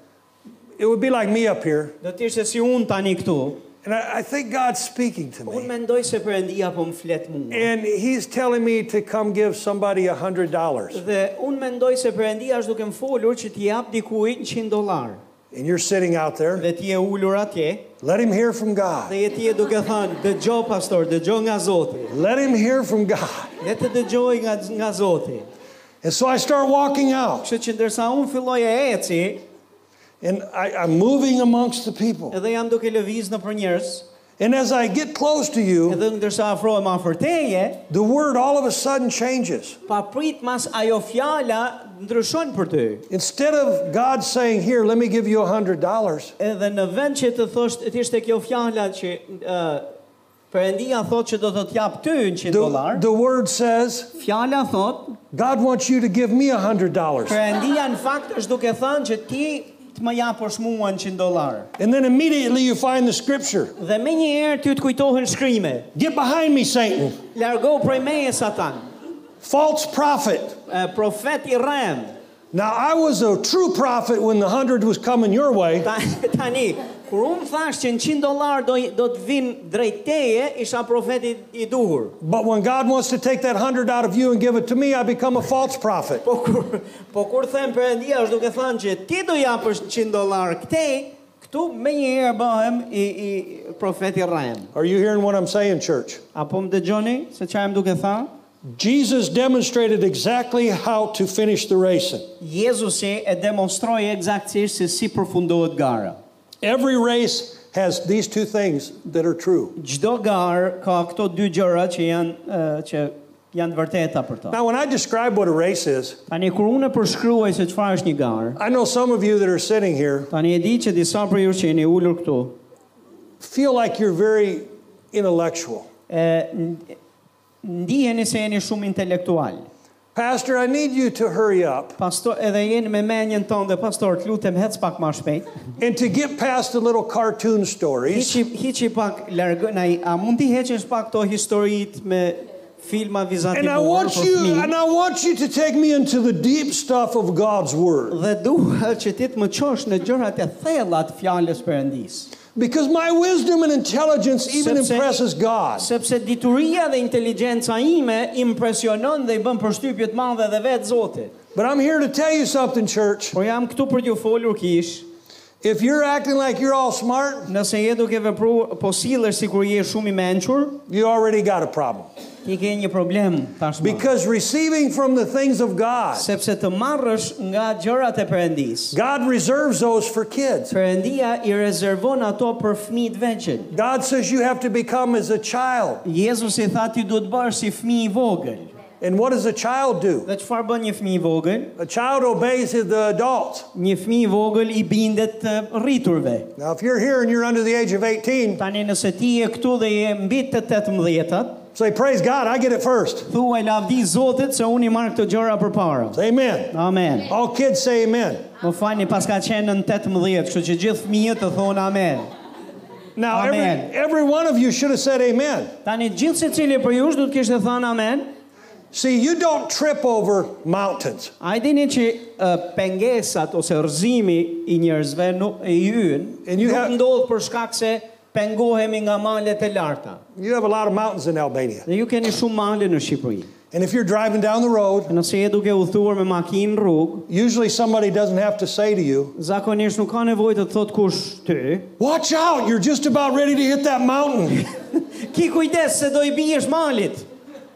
S2: it would be like me up here.
S1: Do të ishte si unë tani këtu.
S2: And I, I think God's speaking to
S1: Unë
S2: me.
S1: mendoj se Perëndia po më flet mua.
S2: And he's telling me to come give somebody a hundred dollars.
S1: Dhe unë mendoj se Perëndia është duke më folur që t'i jap dikujt 100 dollar.
S2: And you're sitting out there.
S1: Dhe ti je ulur atje,
S2: Let him hear from God.
S1: Dhe je ti e duke thënë, dëgjo pastor, dëgjo nga Zoti.
S2: Let him hear from God.
S1: Le të dëgjoj nga nga Zoti.
S2: And so I start walking out
S1: Kështu që ndërsa unë filloj e eci,
S2: and I, I'm moving amongst the people.
S1: edhe jam duke lëviz në për njerëz,
S2: And as I get close to you,
S1: Edhe ndërsa afrohem afër teje,
S2: the word all of a sudden changes.
S1: paprit mas ajo fjala ndryshon për ty.
S2: Instead of God saying, Here, let me give you a $100,
S1: Edhe në vend që të thosh të ishte kjo fjala që ë Perëndia thotë që do të të jap ty 100
S2: the,
S1: dollar.
S2: the word says,
S1: Fjala thotë,
S2: God wants you to give me a $100.
S1: Perëndia në fakt është duke thënë që ti të më japësh mua 100 dollar.
S2: And then immediately you find the scripture
S1: Dhe me një herë ty të kujtohen shkrime.
S2: Get behind me, Satan.
S1: Largo prej meje satan.
S2: False prophet.
S1: E, profet i rrem.
S2: Now, I was a true prophet when the 100 was coming your way,
S1: Ta, tani, kur unë thash që 100 dollar do, do të vinë drejt teje, isha profeti i duhur.
S2: but when God wants to take that 100 out of you and give it to me, I become a false prophet.
S1: Po kur po kur them Perëndia është duke thënë që ti do japësh 100 dollar këtej, këtu më një herë bëhem i i profeti rrem.
S2: Are you hearing what I'm saying, church?
S1: Apo më dëgjoni se çfarë më duke thënë?
S2: Jesus demonstrated exactly how to finish the race.
S1: Jezusi e demonstroi eksaktësisht se si përfundohet gara.
S2: Every race has these two things that are true.
S1: Çdo garë ka këto dy gjëra që janë eh, që janë të vërteta për to.
S2: Now, when I describe what a race is,
S1: Tani kur unë e përshkruaj se çfarë është një garë,
S2: I know some of you that are sitting here
S1: tani e di që disa prej jush që jeni ulur këtu,
S2: feel like you're very intellectual.
S1: e n- ndiheni se jeni shumë intelektual.
S2: Pastor, I need you to hurry up.
S1: Pastor, edhe jeni me menjen tonë dhe pastor, të lutem hec pak më shpejt.
S2: And to get past the little cartoon stories,
S1: Hiçi hiçi pak largë, na i- a mund ti heqesh pak këto historitë me filma
S2: and I
S1: vizativuar
S2: want
S1: për
S2: you
S1: fëmijë?
S2: and I want you to take me into the deep stuff of God's word
S1: Dhe dua që ti të më qosh në gjërat e thella të fjalës Perëndis.
S2: because my wisdom and intelligence even
S1: Sepse-
S2: impresses God.
S1: Sepse dituria dhe inteligjenca ime impresionon dhe i bën përshtypje të madhe edhe vetë Zotit.
S2: But I'm here to tell you something, church.
S1: Por jam këtu për t'ju folur kish,
S2: If you're acting like you're all smart,
S1: nëse je duke vepruar po sillesh sikur je shumë i mençur,
S2: you already got a problem.
S1: ti ke një problem tashmë.
S2: Because receiving from the things of God,
S1: sepse të marrësh nga gjërat e Perëndis.
S2: God reserves those for kids.
S1: Perëndia i rezervon ato për fëmijët veçën.
S2: God says you have to become as a child.
S1: Jezusi tha ti duhet bësh si fëmijë i vogël.
S2: And what does a child do?
S1: Dhe çfarë bën një fëmijë i vogël?
S2: A child obeys the adult.
S1: Një fëmijë i vogël i bindet të rriturve.
S2: Now, if you're here and you're under the age of 18,
S1: Tani nëse ti je këtu dhe je mbi të 18-at,
S2: say, Praise God, I get it first.
S1: thuaj lavdi Zotit se unë i marr këto gjëra përpara.
S2: Say amen.
S1: Amen.
S2: All kids say amen.
S1: Më falni pas ka qenë në 18, kështu që gjithë fëmijët të thonë amen.
S2: Now, every,
S1: Amen.
S2: every one of you should have said amen.
S1: Tani gjithë secili për ju do të kishte thënë amen.
S2: See, you don't trip over mountains.
S1: A i dini që uh, pengesat ose rëzimi i njerëzve nuk i yën,
S2: And you
S1: nuk
S2: have-
S1: ndodh për shkak se pengohemi nga malet e larta.
S2: You have a lot of mountains in Albania.
S1: Dhe ju keni shumë male në Shqipëri.
S2: And if you're driving down the road,
S1: Nëse je duke u thuar me makinë në rrugë,
S2: usually somebody doesn't have to say to you,
S1: zakonisht nuk ka nevojë të të thot kush ty.
S2: Watch out, you're just about ready to hit that mountain.
S1: Ki kujdes se do i biesh malit.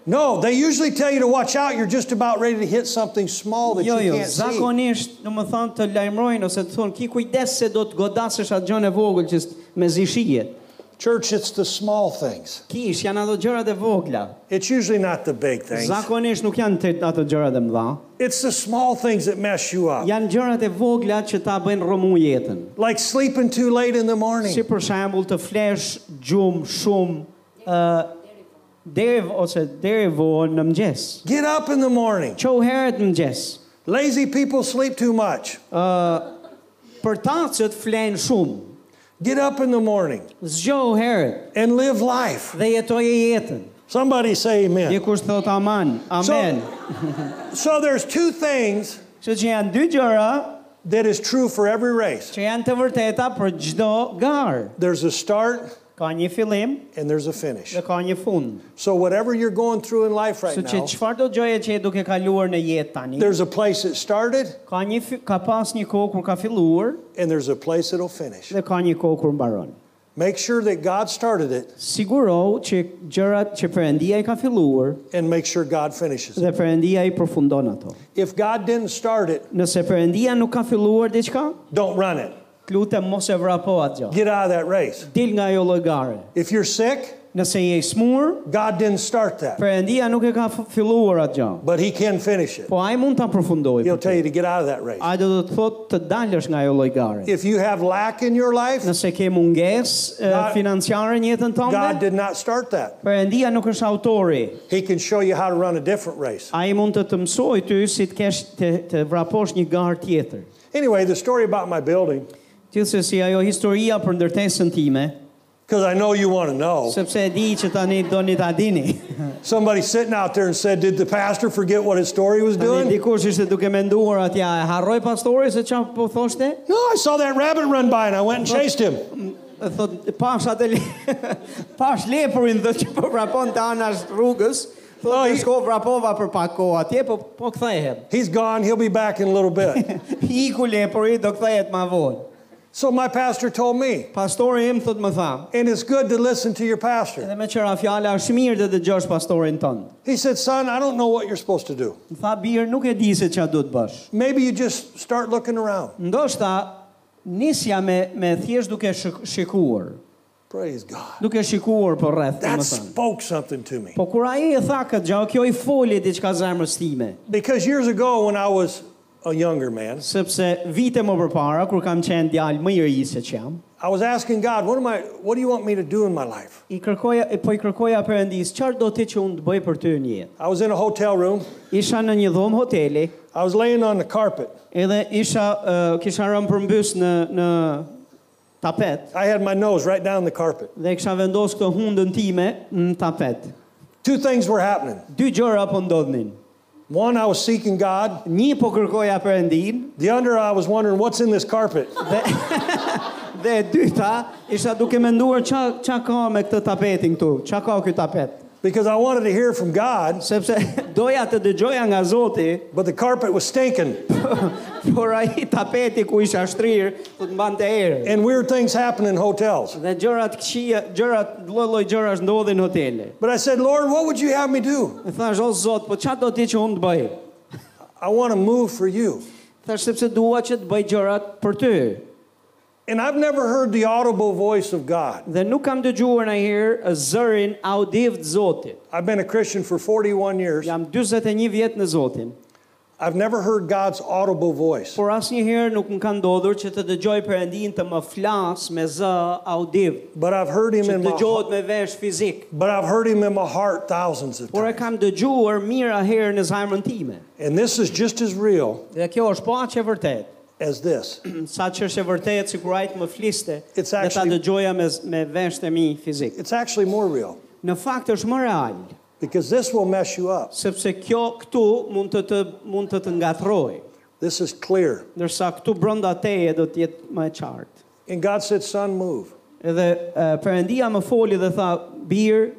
S2: no, they usually tell you to watch out, you're just about ready to hit something small that
S1: Jo,
S2: you
S1: jo,
S2: can't see.
S1: zakonisht, në më thonë të lajmërojnë ose të thonë, ki kujdes se do të godasësh atë gjën e vogël që s- me zishijet.
S2: Church, it's the small things.
S1: Kish, janë ato gjërat e vogla.
S2: It's usually not the big things.
S1: Zakonisht nuk janë të ato gjërat e mëdha.
S2: It's the small things that mess you up.
S1: Janë gjërat e vogla që ta bëjnë rëmu jetën.
S2: Like sleeping too late in the morning.
S1: Si për shembull të flesh gjumë shumë ë deri vo- ose deri vonë në mëngjes.
S2: Get up in the morning.
S1: Qohu herët në mëngjes.
S2: Lazy people sleep too much.
S1: Për ta që të flenë shumë,
S2: Get up in the morning
S1: zgjohu herët
S2: and live life.
S1: dhe jetoje jetën.
S2: Somebody say amen.
S1: Dikush thot aman, amen.
S2: So there's two things
S1: Kështu që janë dy gjëra
S2: that is true for every race.
S1: që janë të vërteta për çdo garë.
S2: There's a start
S1: Ka një fillim
S2: and there's a finish.
S1: dhe ka një fund.
S2: So whatever you're going through in life right
S1: Kështu që
S2: now,
S1: çfarë do gjëje që e duke kaluar në jetë tani?
S2: there's a place that started
S1: Ka një fi- ka pas një kohë kur ka filluar
S2: and there's a place that'll finish.
S1: dhe ka një kohë kur mbaron.
S2: Make sure that God started it
S1: Sigurohu që gjërat që Perëndia i ka filluar
S2: and make sure God finishes it.
S1: dhe Perëndia i përfundon ato.
S2: If God didn't start it,
S1: Nëse Perëndia nuk ka filluar diçka,
S2: don't run it.
S1: Të lutem mos e vrapo atë gjë.
S2: Get out of that race.
S1: Dil nga ajo lloj gare.
S2: If you're sick,
S1: Nëse je i smur,
S2: God didn't start that,
S1: Perëndia nuk e ka f- filluar atë gjë.
S2: but He can finish it.
S1: Po ai mund ta përfundojë.
S2: He'll
S1: për ty.
S2: tell you to get out of that race.
S1: Ai do të thotë të dalësh nga ajo lloj gare.
S2: If you have lack in your life,
S1: Nëse ke mungesë e,
S2: God-
S1: financiare në jetën
S2: God
S1: tënde,
S2: did not start that.
S1: Perëndia nuk është autori.
S2: He can show you how to run a different race.
S1: Ai mund të të mësojë ty si të kesh të, të vraposh një garë tjetër.
S2: Anyway, the story about my building,
S1: Gjithsesi ajo historia për ndërtesën time,
S2: because I know you want to know.
S1: sepse e di që tani doni ta dini.
S2: Somebody sitting out there and said, Did the pastor forget what his story was
S1: Tani
S2: doing?
S1: dikush ishte duke menduar atje, "A e harroi pastori se çfarë po thoshte?
S2: No, I saw that rabbit run by and I went and chased him.
S1: E Thot pash atë le- pash lepurin dhe që po vrapon të anash rrugës.
S2: Oh,
S1: Thot
S2: i-
S1: "Në shko vrapova për pak kohë atje, po po kthehem.
S2: He's gone. He'll be back in a little bit.
S1: Iku lepuri do kthehet më vonë.
S2: so my pastor told me,
S1: Pastori im thot më tha,
S2: and it's good to listen to your pastor.
S1: Edhe me qëra fjala është mirë dhe dëgjosh pastorin tënd.
S2: He said, Son, I don't know what you're supposed to do.
S1: Më tha bir nuk e di se çfarë do të bësh.
S2: Maybe you just start looking around.
S1: Ndoshta nisja me me thjesht duke shik- shikuar,
S2: Praise God.
S1: duke shikuar për rreth,
S2: That
S1: domethënë.
S2: spoke something to me.
S1: Po kur ai e tha këtë gjë, kjo i foli diçka zemrës time,
S2: Because years ago, when I was a younger man,
S1: sepse vite më përpara kur kam qenë djalë më i ri se që jam,
S2: I was asking God, What, am I, what do you want me to do in my life?
S1: i kërkoja po i kërkoja Perëndis, çfarë do ti që unë të bëj për ty në jetë?
S2: I was in a hotel room.
S1: Isha në një dhomë hoteli,
S2: I was laying on the carpet.
S1: edhe isha uh, kisha rënë përmbys në në tapet.
S2: I had my nose right down the carpet.
S1: dhe kisha vendos këtë hundën time në tapet.
S2: Two things were happening.
S1: Dy gjëra po ndodhnin.
S2: One, I was seeking God.
S1: Një po kërkoja Perëndin
S2: The other, I was wondering, What's in this carpet?
S1: dhe e dyta isha duke menduar ç'a ç'a ka me këtë tapetin këtu, ç'a ka ky tapet.
S2: Because I wanted to hear from God,
S1: Sepse doja të dëgjoja nga Zoti,
S2: but the carpet was stinking.
S1: por ai tapeti ku isha shtrirë, do të mbante erë.
S2: and weird things happen in hotels.
S1: Dhe gjërat këqija, gjërat lloj-lloj gjërash ndodhin në hotele.
S2: But I said, Lord, what would you have me do?
S1: E thash, "O Zot, po ç'a do ti që unë të bëj?"
S2: I want to move for you.
S1: Thash sepse dua që të bëj gjërat për ty.
S2: And I've never heard the audible voice of God.
S1: Dhe nuk kam dëgjuar në herë zërin audiv të Zotit.
S2: I've been a Christian for 41 years.
S1: Jam 41 vjet në Zotin,
S2: I've never heard God's audible voice.
S1: por asnjëherë nuk më ka ndodhur që të dëgjoj Perëndin të më flas me zë audiv,
S2: But I've heard him
S1: që
S2: in
S1: të
S2: my
S1: dëgjohet me vesh fizik.
S2: but I've heard him in my heart thousands of
S1: Por e
S2: times.
S1: kam dëgjuar mira herë në zemrën time.
S2: And this is just as real
S1: Dhe kjo është pa që e vërtet.
S2: as this.
S1: Sa që është e vërtet, si kur ajtë më fliste,
S2: It's
S1: dhe ta
S2: actually-
S1: dëgjoja me, z- me vesh të mi fizik.
S2: It's actually more real
S1: Në fakt është më real,
S2: because this will mess you up.
S1: sepse kjo këtu mund të të, mund të, të ngatrojë.
S2: This is clear.
S1: ndërsa këtu brenda teje do të jetë më e qartë.
S2: And God said, Son, move.
S1: Edhe e, Perëndia më foli dhe tha, "Bir,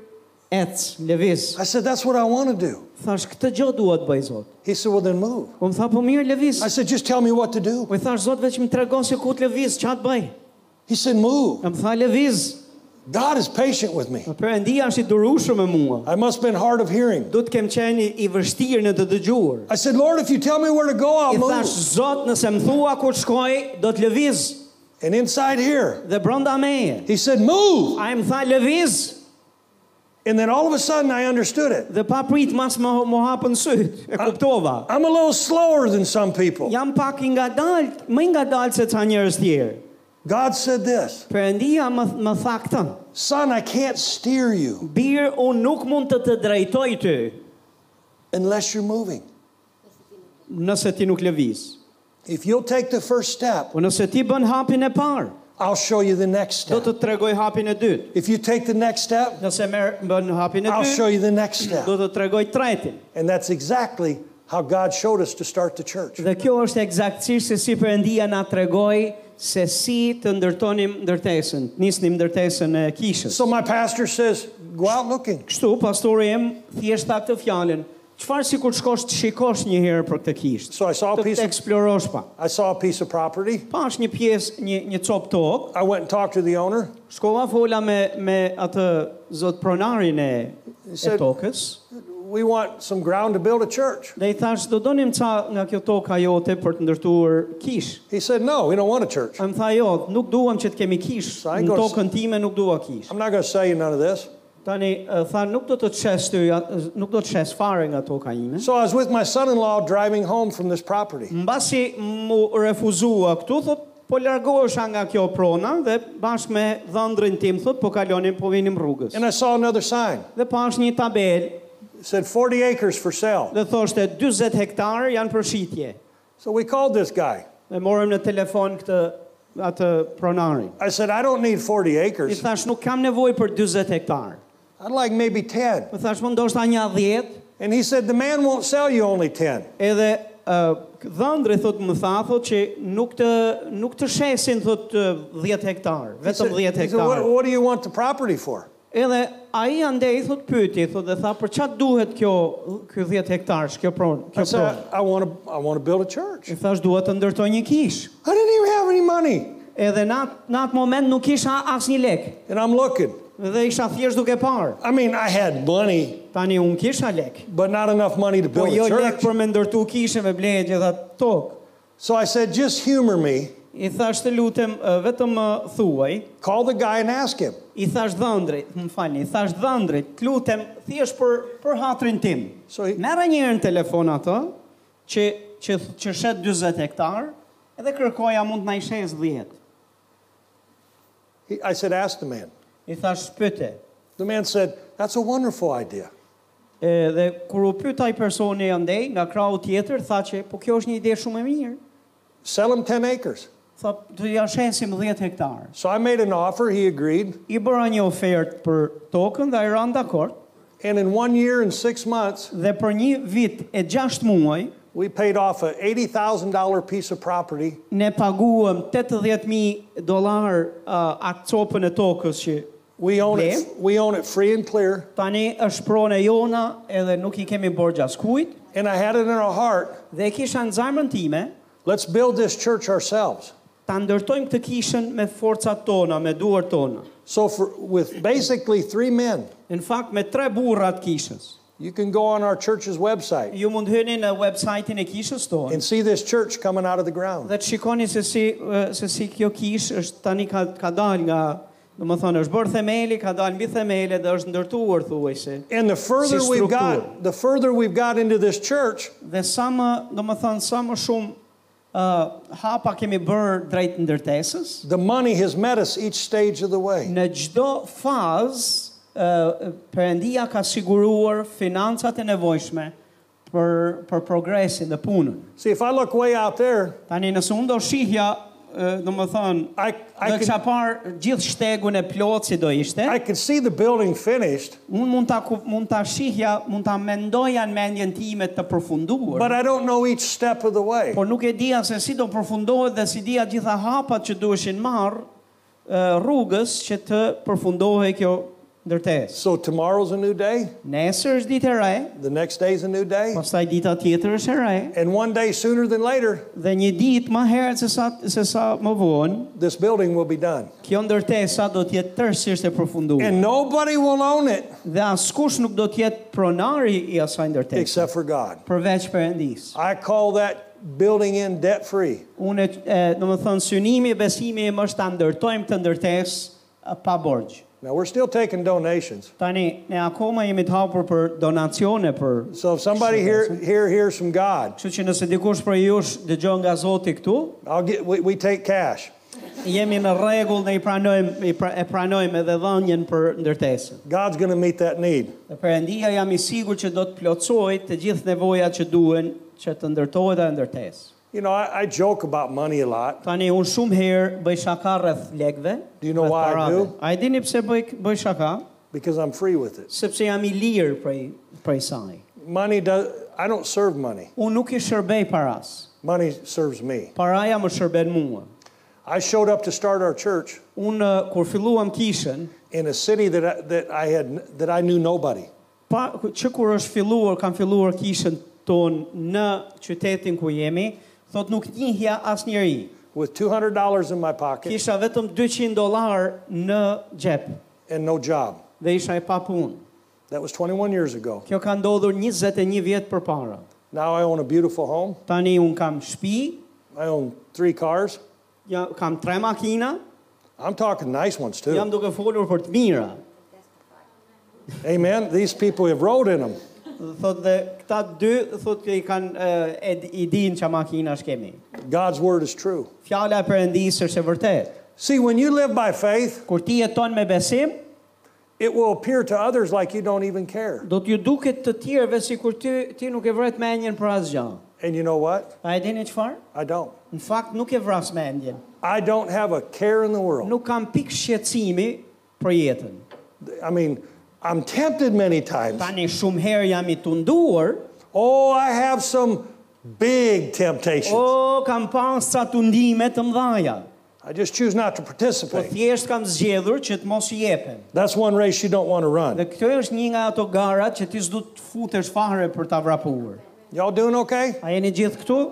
S1: ec, lëviz."
S2: I said, That's what I want to do.
S1: Thash, "Këtë gjë dua të bëj Zot."
S2: He said, Well, then move.
S1: Po më tha, "Po mirë, lëviz."
S2: I said, Just tell me what to do.
S1: Po i thash, "Zot, veç më tregon se ku të lëviz, ç'a të bëj?"
S2: He said, Move.
S1: E Më tha, "Lëviz."
S2: God is patient with me.
S1: Po Perëndia është i durueshëm me mua.
S2: I must have been hard of hearing.
S1: Do të kem qenë i- i vështirë në të dëgjuar.
S2: I said, Lord, if you tell me where to go, I'll
S1: I thash,
S2: move.
S1: "Zot, nëse më thua ku të shkoj, do të lëviz."
S2: And inside here,
S1: Dhe brenda meje.
S2: he said, Move.
S1: Ai më tha, "Lëviz."
S2: And then all of a sudden, I understood it.
S1: Dhe pa prit mas më, më hapën syt. E kuptova.
S2: I'm a little slower than some people.
S1: Jam pak i ngadalt, më i ngadalt se ca njerëz tjerë.
S2: God said this
S1: Perëndia më më tha këtë.
S2: Son, I can't steer you
S1: Bir, unë nuk mund të të drejtoj ty
S2: unless you're moving.
S1: nëse ti nuk lëviz.
S2: If you'll take the first step,
S1: Po nëse ti bën hapin e parë,
S2: I'll show you the next
S1: do
S2: step.
S1: të të tregoj hapin e dytë.
S2: If you take the next step,
S1: Nëse merr bën hapin e
S2: I'll show
S1: dytë,
S2: you the next step.
S1: do të tregoj tretin.
S2: And that's exactly how God showed us to start the church.
S1: Dhe kjo është eksaktësisht se si Perëndia na tregoi se si të ndërtonim ndërtesën, nisnim ndërtesën e kishës.
S2: So my pastor says, Go out looking.
S1: Kështu pastori im thjesht tha këtë fjalën, çfarë sikur shkosh të shikosh një herë për këtë kishë.
S2: So I saw a
S1: të,
S2: piece
S1: të
S2: of
S1: eksplorosh pa.
S2: I saw a piece of property.
S1: Pash një pjesë, një, një copë tokë,
S2: I went and talked to the owner.
S1: shkova fola me, me atë zot pronarin e,
S2: Se-
S1: e tokës,
S2: we want some ground to build a church.
S1: Dhe i thash, do donim ca nga kjo tokë jote për të ndërtuar kish.
S2: He said, No, we don't want a church.
S1: A më tha, jo, nuk duam që të kemi kish.
S2: Sa i
S1: Në
S2: gos-
S1: tokën time nuk dua kish.
S2: I'm not going to sell you none of this.
S1: Tani, e, tha, nuk do të të qes ty, a- nuk do të qes fare nga toka ime.
S2: So I was with my son in law driving home from this property.
S1: Mbasi mu refuzua këtu, thot, po largohesha nga kjo prona dhe bashkë me dhëndrin tim, thot, po kalonim, po vinim rrugës.
S2: And I saw another sign.
S1: Dhe pash një tabel
S2: It said 40 acres for sale.
S1: dhe thoshte 40 hektarë janë për shitje.
S2: So we called this guy.
S1: Dhe morëm në telefon këtë atë pronarin.
S2: I said, I don't need 40
S1: I
S2: acres.
S1: thash nuk kam nevojë për 40 hektarë.
S2: I'd like maybe 10.
S1: Më thash më ndoshta një 10,
S2: And he said, The man won't sell you only 10.
S1: edhe ë dhëndri thot më tha thot që nuk të nuk të shesin thot ë, 10 hektarë,
S2: He said,
S1: vetëm 10
S2: he said, what,
S1: hektarë.
S2: what do you want the property for?
S1: Edhe ai andej thot pyeti, thot dhe tha për çfarë duhet kjo ky 10 hektarë, kjo pronë,
S2: I
S1: kjo
S2: said,
S1: pronë.
S2: I, want to, I want to build a church.
S1: I thash dua të ndërtoj një kishë.
S2: I didn't even have any money.
S1: Edhe në atë- në atë moment nuk kisha asnjë lek.
S2: And I'm looking.
S1: Dhe isha thjesht duke parë.
S2: I mean, I had money,
S1: Tani un kisha lek.
S2: but not enough money to
S1: Po
S2: build
S1: jo
S2: a
S1: lek
S2: church.
S1: për me ndërtu kishën me bleje gjitha tokë.
S2: So I said, Just humor me.
S1: I thash të lutem ë, vetëm ë, thuaj.
S2: Call the guy and ask him.
S1: I thash dhëndrit, më falni, i thash dhëndrit, të lutem thjesht për për hatrin tim.
S2: So i-
S1: Merra një herë në telefon atë që që që shet 40 hektar edhe kërkoja mund na i shes 10.
S2: He, I said, Ask the man.
S1: I thash pyete.
S2: The man said, That's a wonderful idea.
S1: Edhe kur u pyet ai personi andej nga krau tjetër tha që po kjo është një ide shumë e mirë.
S2: Sell him 10 acres.
S1: Tha do ja shesim 10 hektar.
S2: So I made an offer. He agreed.
S1: I bëra një ofertë për tokën dhe ai ran dakord
S2: And in one year and six months,
S1: dhe për një vit e 6 muaj
S2: we paid off a $80,000 piece of property
S1: ne paguam 80.000 dollar uh, atë copën e tokës që
S2: We own it.
S1: Blair?
S2: We own it free and clear.
S1: tani është pronë e jona edhe nuk i kemi borxh askujt
S2: And I had it in our heart.
S1: dhe e kisha në zemrën time
S2: Let's build this church ourselves.
S1: ta ndërtojmë këtë kishën me forcat tona, me duart tona.
S2: So for with basically three men,
S1: Në fakt me tre burra të kishës.
S2: you can go on our church's website
S1: Ju mund hyni në website-in e kishës tonë
S2: and see this church coming out of the ground.
S1: dhe të shikoni se si eh, se si kjo kishë është tani ka ka dalë nga do më thonë, është bërë themeli, ka dalë mbi themele dhe është ndërtuar thuajse.
S2: And the further
S1: Si
S2: we've
S1: struktur.
S2: got, the further we've got into this church,
S1: Dhe sa më, do më thënë, sa më shumë uh, hapa kemi bërë drejt ndërtesës,
S2: the money has met us each stage of the way.
S1: në gjdo fazë, uh, përëndia ka siguruar financat e nevojshme për, për progresin dhe punën.
S2: See, if I look way out there,
S1: Tani nëse unë do shihja, uh, do më thënë,
S2: I I
S1: do
S2: can,
S1: kisha parë gjithë shtegun e plotë si do ishte,
S2: I can see the building finished,
S1: unë mund ta ku- mund ta shihja, mund ta mendoja në mendjen time të
S2: but
S1: përfunduar,
S2: I don't know each step of the way.
S1: por nuk e dija se si do përfundohet dhe si dija gjitha hapat që duheshin marr ë, rrugës që të përfundohej kjo ndërtesë.
S2: So tomorrow's a new day,
S1: Nesër është ditë e re,
S2: the next day's a new day.
S1: pastaj dita tjetër është e re
S2: And one day sooner than later,
S1: dhe një ditë më herët se sa se sa më vonë,
S2: this building will be done.
S1: kjo ndërtesa do të jetë tërësisht e përfunduar
S2: And nobody will own it
S1: dhe askush nuk do të jetë pronari i asaj ndërtese
S2: except for God.
S1: përveç Perëndisë.
S2: I call that building in debt free.
S1: Unë, e, do më thënë, synimi e besimi im është ta ndërtojmë të ndërtes pa borgjë.
S2: Now, we're still taking donations.
S1: Tani, ne akoma jemi të hapur për donacione për...
S2: So if somebody here, here hears from God,
S1: Kështu që nëse dikush për jush dëgjon nga Zoti këtu,
S2: I'll get, we, we take cash.
S1: jemi në rregull dhe i pranojmë i pra, e pranojmë edhe dhënien për ndërtesën.
S2: God's going to meet that need.
S1: Dhe Perëndia jam i sigurt që do të plotësojë të gjithë nevojat që duhen që të ndërtohet ajo ndërtesë.
S2: You know, I, I joke about money a lot.
S1: Tani unë shumë herë bëj shaka rreth lekëve.
S2: Do you know
S1: rreth
S2: why I
S1: parave.
S2: do?
S1: A e dini pse bëj bëj shaka?
S2: Because I'm free with it.
S1: sepse jam i lirë prej, prej saj.
S2: Money does, I don't serve money.
S1: Unë nuk i shërbej paras.
S2: Money serves me.
S1: Paraja më shërben mua.
S2: I showed up to start our church
S1: Unë uh, kur filluam kishën,
S2: in a city that I, that I had, that I knew nobody.
S1: pa, që kur është filluar, kam filluar kishën ton në qytetin ku jemi, thot nuk njihja as njeri.
S2: with $200 in my pocket
S1: Kisha vetëm 200 dolar në gjep
S2: and no job.
S1: dhe isha e pa punë.
S2: That was 21 years ago.
S1: Kjo ka ndodhur 21 vjet përpara.
S2: Now I own a beautiful home.
S1: Tani un kam shtëpi,
S2: I own three cars.
S1: ja, kam tre makina,
S2: I'm talking nice ones too.
S1: jam duke folur për të mira.
S2: Amen. These people have rode in them.
S1: Dhe Thot dhe këta dy thot që i kanë eh, e, di- i din çka makinash kemi.
S2: God's word is true.
S1: Fjala e Perëndisë është e vërtetë.
S2: See, when you live by faith,
S1: Kur ti jeton me besim,
S2: it will appear to others like you don't even care.
S1: do t'ju duket të tjerëve sikur ti ti nuk e vret mendjen për asgjë.
S2: And you know what?
S1: A e dini çfarë?
S2: I don't.
S1: Në fakt nuk e vras mendjen.
S2: I don't have a care in the world.
S1: Nuk kam pikë shqetësimi për jetën.
S2: I mean, I'm tempted many times.
S1: Tani shumë herë jam i tunduar,
S2: Oh, I have some big temptations.
S1: o po kam pas sa tundime të mëdha.
S2: I just choose not to
S1: Po
S2: participate.
S1: thjesht kam zgjedhur që të mos i jepen.
S2: That's one race you don't want to
S1: Dhe
S2: run.
S1: kjo është një nga ato garat që ti s'du të futesh fare për ta vrapuar.
S2: Y'all doing okay?
S1: A jeni gjithë këtu?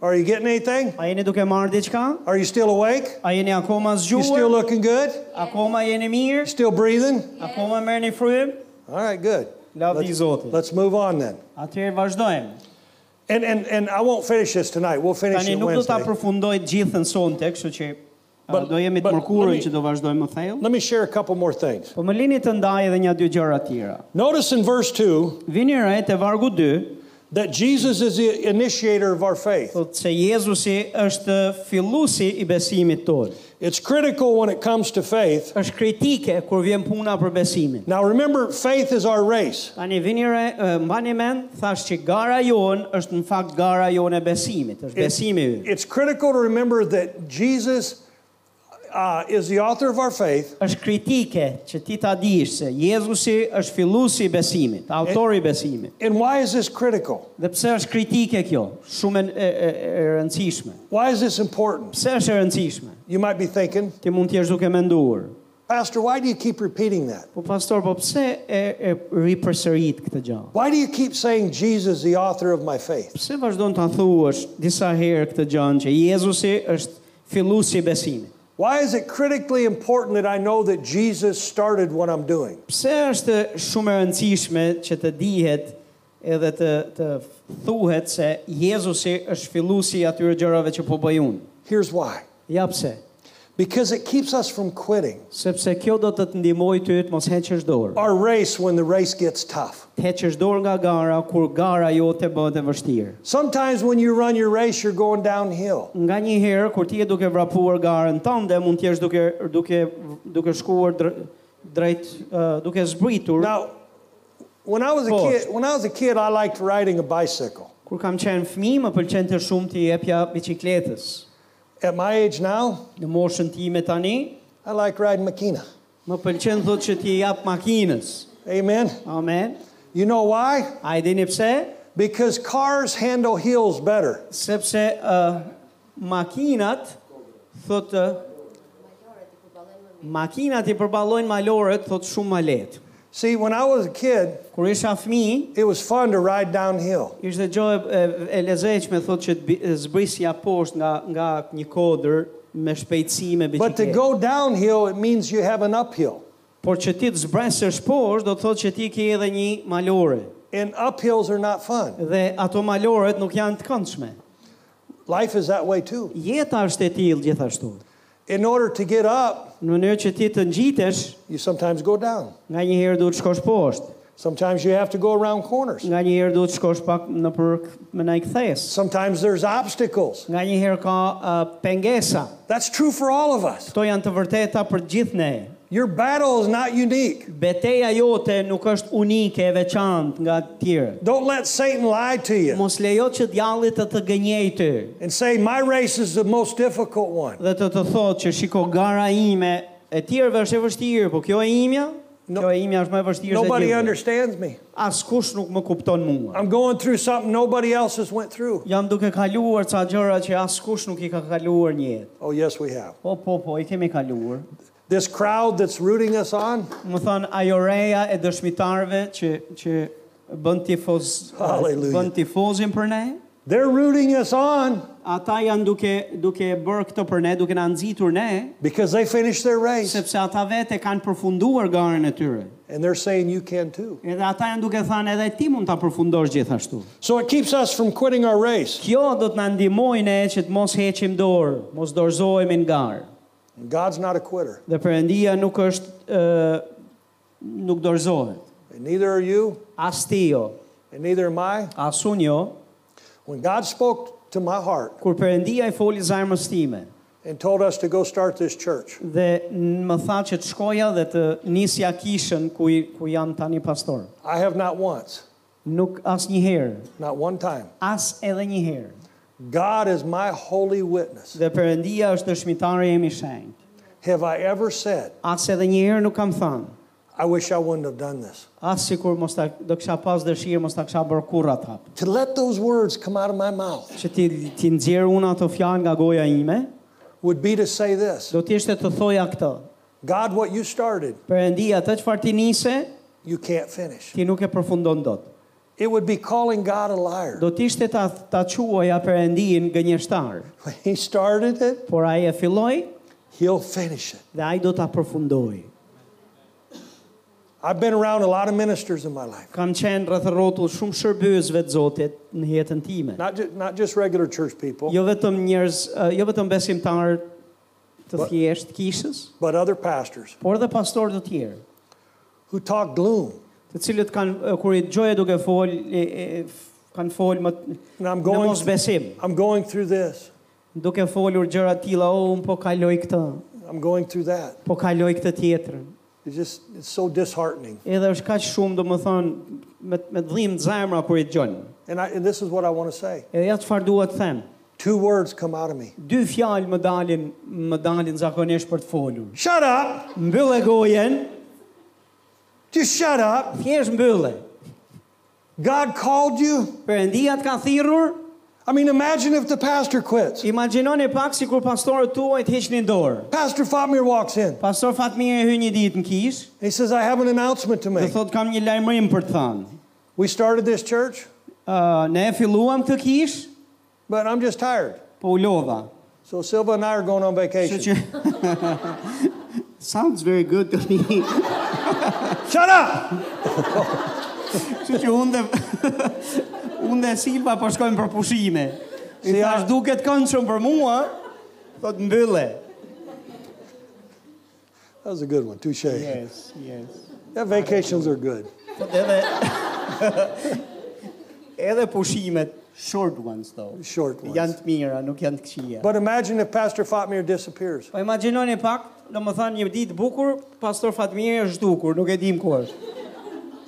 S2: Are you getting anything?
S1: A jeni duke marrë diçka?
S2: Are you still awake?
S1: A jeni akoma
S2: You still
S1: zgjuar?
S2: looking good?
S1: Akoma jeni mirë?
S2: Still breathing?
S1: Akoma merrni frymë?
S2: All right, good.
S1: Lavdi
S2: Let's-
S1: Zotit.
S2: Let's move on then.
S1: Atëherë vazhdojmë.
S2: And, and, and I won't finish this tonight. We'll finish
S1: Tani
S2: it
S1: nuk do ta
S2: Wednesday.
S1: përfundoj të gjithën sonte, kështu që a,
S2: But-
S1: do jemi të
S2: but
S1: mërkurën
S2: let me-
S1: që do vazhdojmë më thellë.
S2: Let me share a couple more things.
S1: Po më lini të ndaj edhe një dy gjëra tjera.
S2: Notice in verse 2
S1: Vini re te vargu 2,
S2: that Jesus is the initiator of our
S1: thotë
S2: faith.
S1: Po se Jezusi është filluesi i besimit tonë.
S2: It's critical when it comes to faith.
S1: Është kritike kur vjen puna për besimin.
S2: Now remember, faith is our race.
S1: Tani vini re, e, mbani mend, thash që gara jon është në fakt gara jon e besimit, është besimi ynë.
S2: It's critical to remember that Jesus uh, is the author of our faith,
S1: Është kritike që ti ta dish se Jezusi është filluesi i besimit, autori i besimit.
S2: and why is this critical?
S1: Dhe pse është kritike kjo? Shumë e, e, e- e rëndësishme.
S2: Why is this important?
S1: Pse është e rëndësishme?
S2: You might be thinking,
S1: Ti mund t'jesh duke menduar.
S2: Pastor, why do you keep repeating that?
S1: Po pastor, po pse e, e ripërsërit këtë gjë?
S2: Why do you keep saying Jesus, the author of my faith?
S1: Pse vazhdon ta thuash disa herë këtë gjë që Jezusi është filluesi i besimit?
S2: Why is it critically important that I know that Jesus started what I'm doing?
S1: Pse është shumë e rëndësishme që të dihet edhe të të thuhet se Jezusi është filluesi i atyre gjërave që po bëj unë?
S2: Here's why
S1: Ja pse?
S2: because it keeps us from quitting
S1: Sepse kjo do të të ndihmojë ty të mos heqësh dorë.
S2: our race when the race gets tough.
S1: të heqësh dorë nga gara kur gara jote bëhet e vështirë.
S2: Sometimes when you run your race, you're going downhill.
S1: Nga një herë kur ti je duke vrapuar garën tënde, mund të jesh duke duke duke shkuar dr- drejt ë, duke zbritur.
S2: Now, when I was a
S1: Boss.
S2: kid, when I was a kid, I liked riding a bicycle.
S1: Kur kam qenë fëmijë, më pëlqente shumë të jepja biçikletës.
S2: At my age now,
S1: Në moshën time tani,
S2: I like riding makina.
S1: më pëlqen thotë që ti jap makinës.
S2: Amen.
S1: Amen.
S2: You know why?
S1: A e dini pse?
S2: Because cars handle hills better.
S1: Sepse ë makinat thotë ë, makinat i përballojnë malorët thotë shumë më lehtë.
S2: See, when I was a kid,
S1: Kur isha fëmijë,
S2: it was fun to ride downhill.
S1: ishte gjë e, e lezetshme thotë që të bi- e zbrisja poshtë nga nga një kodër me shpejtësi me
S2: But to
S1: biçikletë.
S2: go downhill, it means you have an uphill.
S1: Por që ti të zbresësh poshtë do të thotë që ti ke edhe një malore
S2: And uphills are not fun.
S1: dhe ato maloret nuk janë të këndshme.
S2: Life is that way too.
S1: Jeta është e tillë gjithashtu.
S2: In order to get up,
S1: Në mënyrë që ti të ngjitesh
S2: you sometimes go down.
S1: nga një herë duhet shkosh poshtë,
S2: Sometimes you have to go around corners.
S1: nga një herë duhet shkosh pak në për me një kthes.
S2: Sometimes there's obstacles.
S1: Nga një herë ka uh, pengesa.
S2: That's true for all of us.
S1: Kto janë të vërteta për gjithë ne.
S2: Your battle is not unique.
S1: Beteja jote nuk është unike e veçantë nga të tjerët.
S2: Don't let Satan lie to you
S1: Mos lejo që djalli të të gënjej ty
S2: and say, My race is the most difficult one.
S1: dhe të të thotë që shiko gara ime e tjerëve është e vështirë, po kjo e imja,
S2: No-
S1: kjo e imja është më e vështirë se
S2: Nobody
S1: gjithë.
S2: understands me.
S1: Askush nuk më kupton mua.
S2: I'm going through something nobody else has went through.
S1: Jam duke kaluar ca gjëra që askush nuk i ka kaluar në jetë.
S2: Oh, yes, we have.
S1: Po, po, po, i kemi kaluar.
S2: This crowd that's rooting us on,
S1: Më thënë, ajo reja e dëshmitarve që, që bën tifoz,
S2: Hallelujah.
S1: bën tifozin për ne,
S2: They're rooting us on
S1: Ata janë duke duke bërë këtë për ne, duke na nxitur ne,
S2: because they finished their race.
S1: sepse ata vete kanë përfunduar garën e tyre.
S2: And they're saying you can too.
S1: Edhe ata janë duke thënë edhe ti mund ta përfundosh gjithashtu.
S2: So it keeps us from quitting our race.
S1: Kjo do të na ndihmojë ne që të mos heqim dorë, mos dorëzohemi në garë.
S2: God's not a quitter,
S1: Dhe Perëndia nuk është ë nuk dorëzohet.
S2: and neither are you,
S1: As ti jo,
S2: and neither am I.
S1: as unë jo,
S2: When God spoke to my heart
S1: kur Perëndia i foli zarmës time
S2: and told us to go start this church,
S1: dhe n- më tha që të shkoja dhe të nisja kishën ku i- ku jam tani pastor.
S2: I have not once,
S1: Nuk as një herë,
S2: not one time.
S1: as edhe një herë.
S2: God is my holy witness.
S1: Dhe Perëndia është dëshmitari im i shenjtë.
S2: Have I ever said,
S1: As edhe një herë nuk kam thënë.
S2: I wish I wouldn't have done this?
S1: As sikur mos ta do kisha pas dëshirë mos ta kisha bërë kurrë atë hap.
S2: To let those words come out of my mouth
S1: Që ti ti nxjerr unë ato fjalë nga goja ime,
S2: would be to say this
S1: do të ishte të thoja këtë.
S2: God, what you started,
S1: Perëndia, atë çfarë ti nise,
S2: you can't finish.
S1: ti nuk e përfundon dot.
S2: It would be calling God a liar.
S1: Do të ishte ta ta quaja Perëndin gënjeshtar,
S2: When He started it,
S1: por ai e filloi
S2: He'll finish it.
S1: dhe ai do ta përfundoi.
S2: I've been around a lot of ministers in my life,
S1: Kam qenë rreth rrotull shumë shërbyesve të Zotit në jetën time.
S2: not, ju- not just regular church people,
S1: Jo vetëm njerëz, eh, jo vetëm besimtarë të thjeshtë kishës,
S2: but other pastors
S1: por dhe pastorë të tjerë,
S2: who talk gloom.
S1: të cilët kanë eh, kur i dëgjoja duke fol e, e, f- kanë fol më t-
S2: And I'm
S1: në
S2: going,
S1: mos besim,
S2: I'm going through this,
S1: duke folur gjëra të tilla, o un po kaloj këtë,
S2: I'm going through that.
S1: po kaloj këtë tjetrën.
S2: It's just, it's so disheartening.
S1: Edhe është kaq shumë, domethënë, me me dhim të zemra kur i dëgjon.
S2: And, I, and this is what I want to say.
S1: Edhe ja çfarë dua të them.
S2: Two words come out of me.
S1: Dy fjalë më dalin, më dalin zakonisht për të folur.
S2: Shut up.
S1: Mbyll e gojen,
S2: Just shut up.
S1: thjesht mbyllë.
S2: God called you.
S1: Perëndia të ka thirrur,
S2: I mean, imagine if the pastor quits.
S1: imagjinoni pak sikur pastorët tuaj të hiqnin dorë.
S2: Pastor Fatmir walks in. And
S1: Pastor Fatmir e hyn një ditë në kish,
S2: he says, I have an announcement to
S1: dhe
S2: make.
S1: thot kam një lajmërim për të thënë.
S2: We started this church,
S1: Uh, ne e filluam këtë kish,
S2: but I'm just tired.
S1: po u lodha.
S2: So Silva and I are going
S1: Kështu
S2: on vacation.
S1: që Sounds very good to me.
S2: Shut up.
S1: Kështu që unë dhe unë dhe Silva po shkojmë për pushime. I
S2: Si
S1: thash
S2: a-
S1: duket këndshëm për mua, thot mbylle.
S2: That was a good one. Touche.
S1: Yes, yes.
S2: Yeah, vacations are good.
S1: Thot edhe edhe pushimet short ones though.
S2: Short ones.
S1: Janë të mira, nuk janë të këqija.
S2: But imagine if Pastor Fatmir disappears.
S1: Po imagjinoni pak, domethënë një ditë bukur, pastor Fatmiri është dukur, nuk e dim ku është.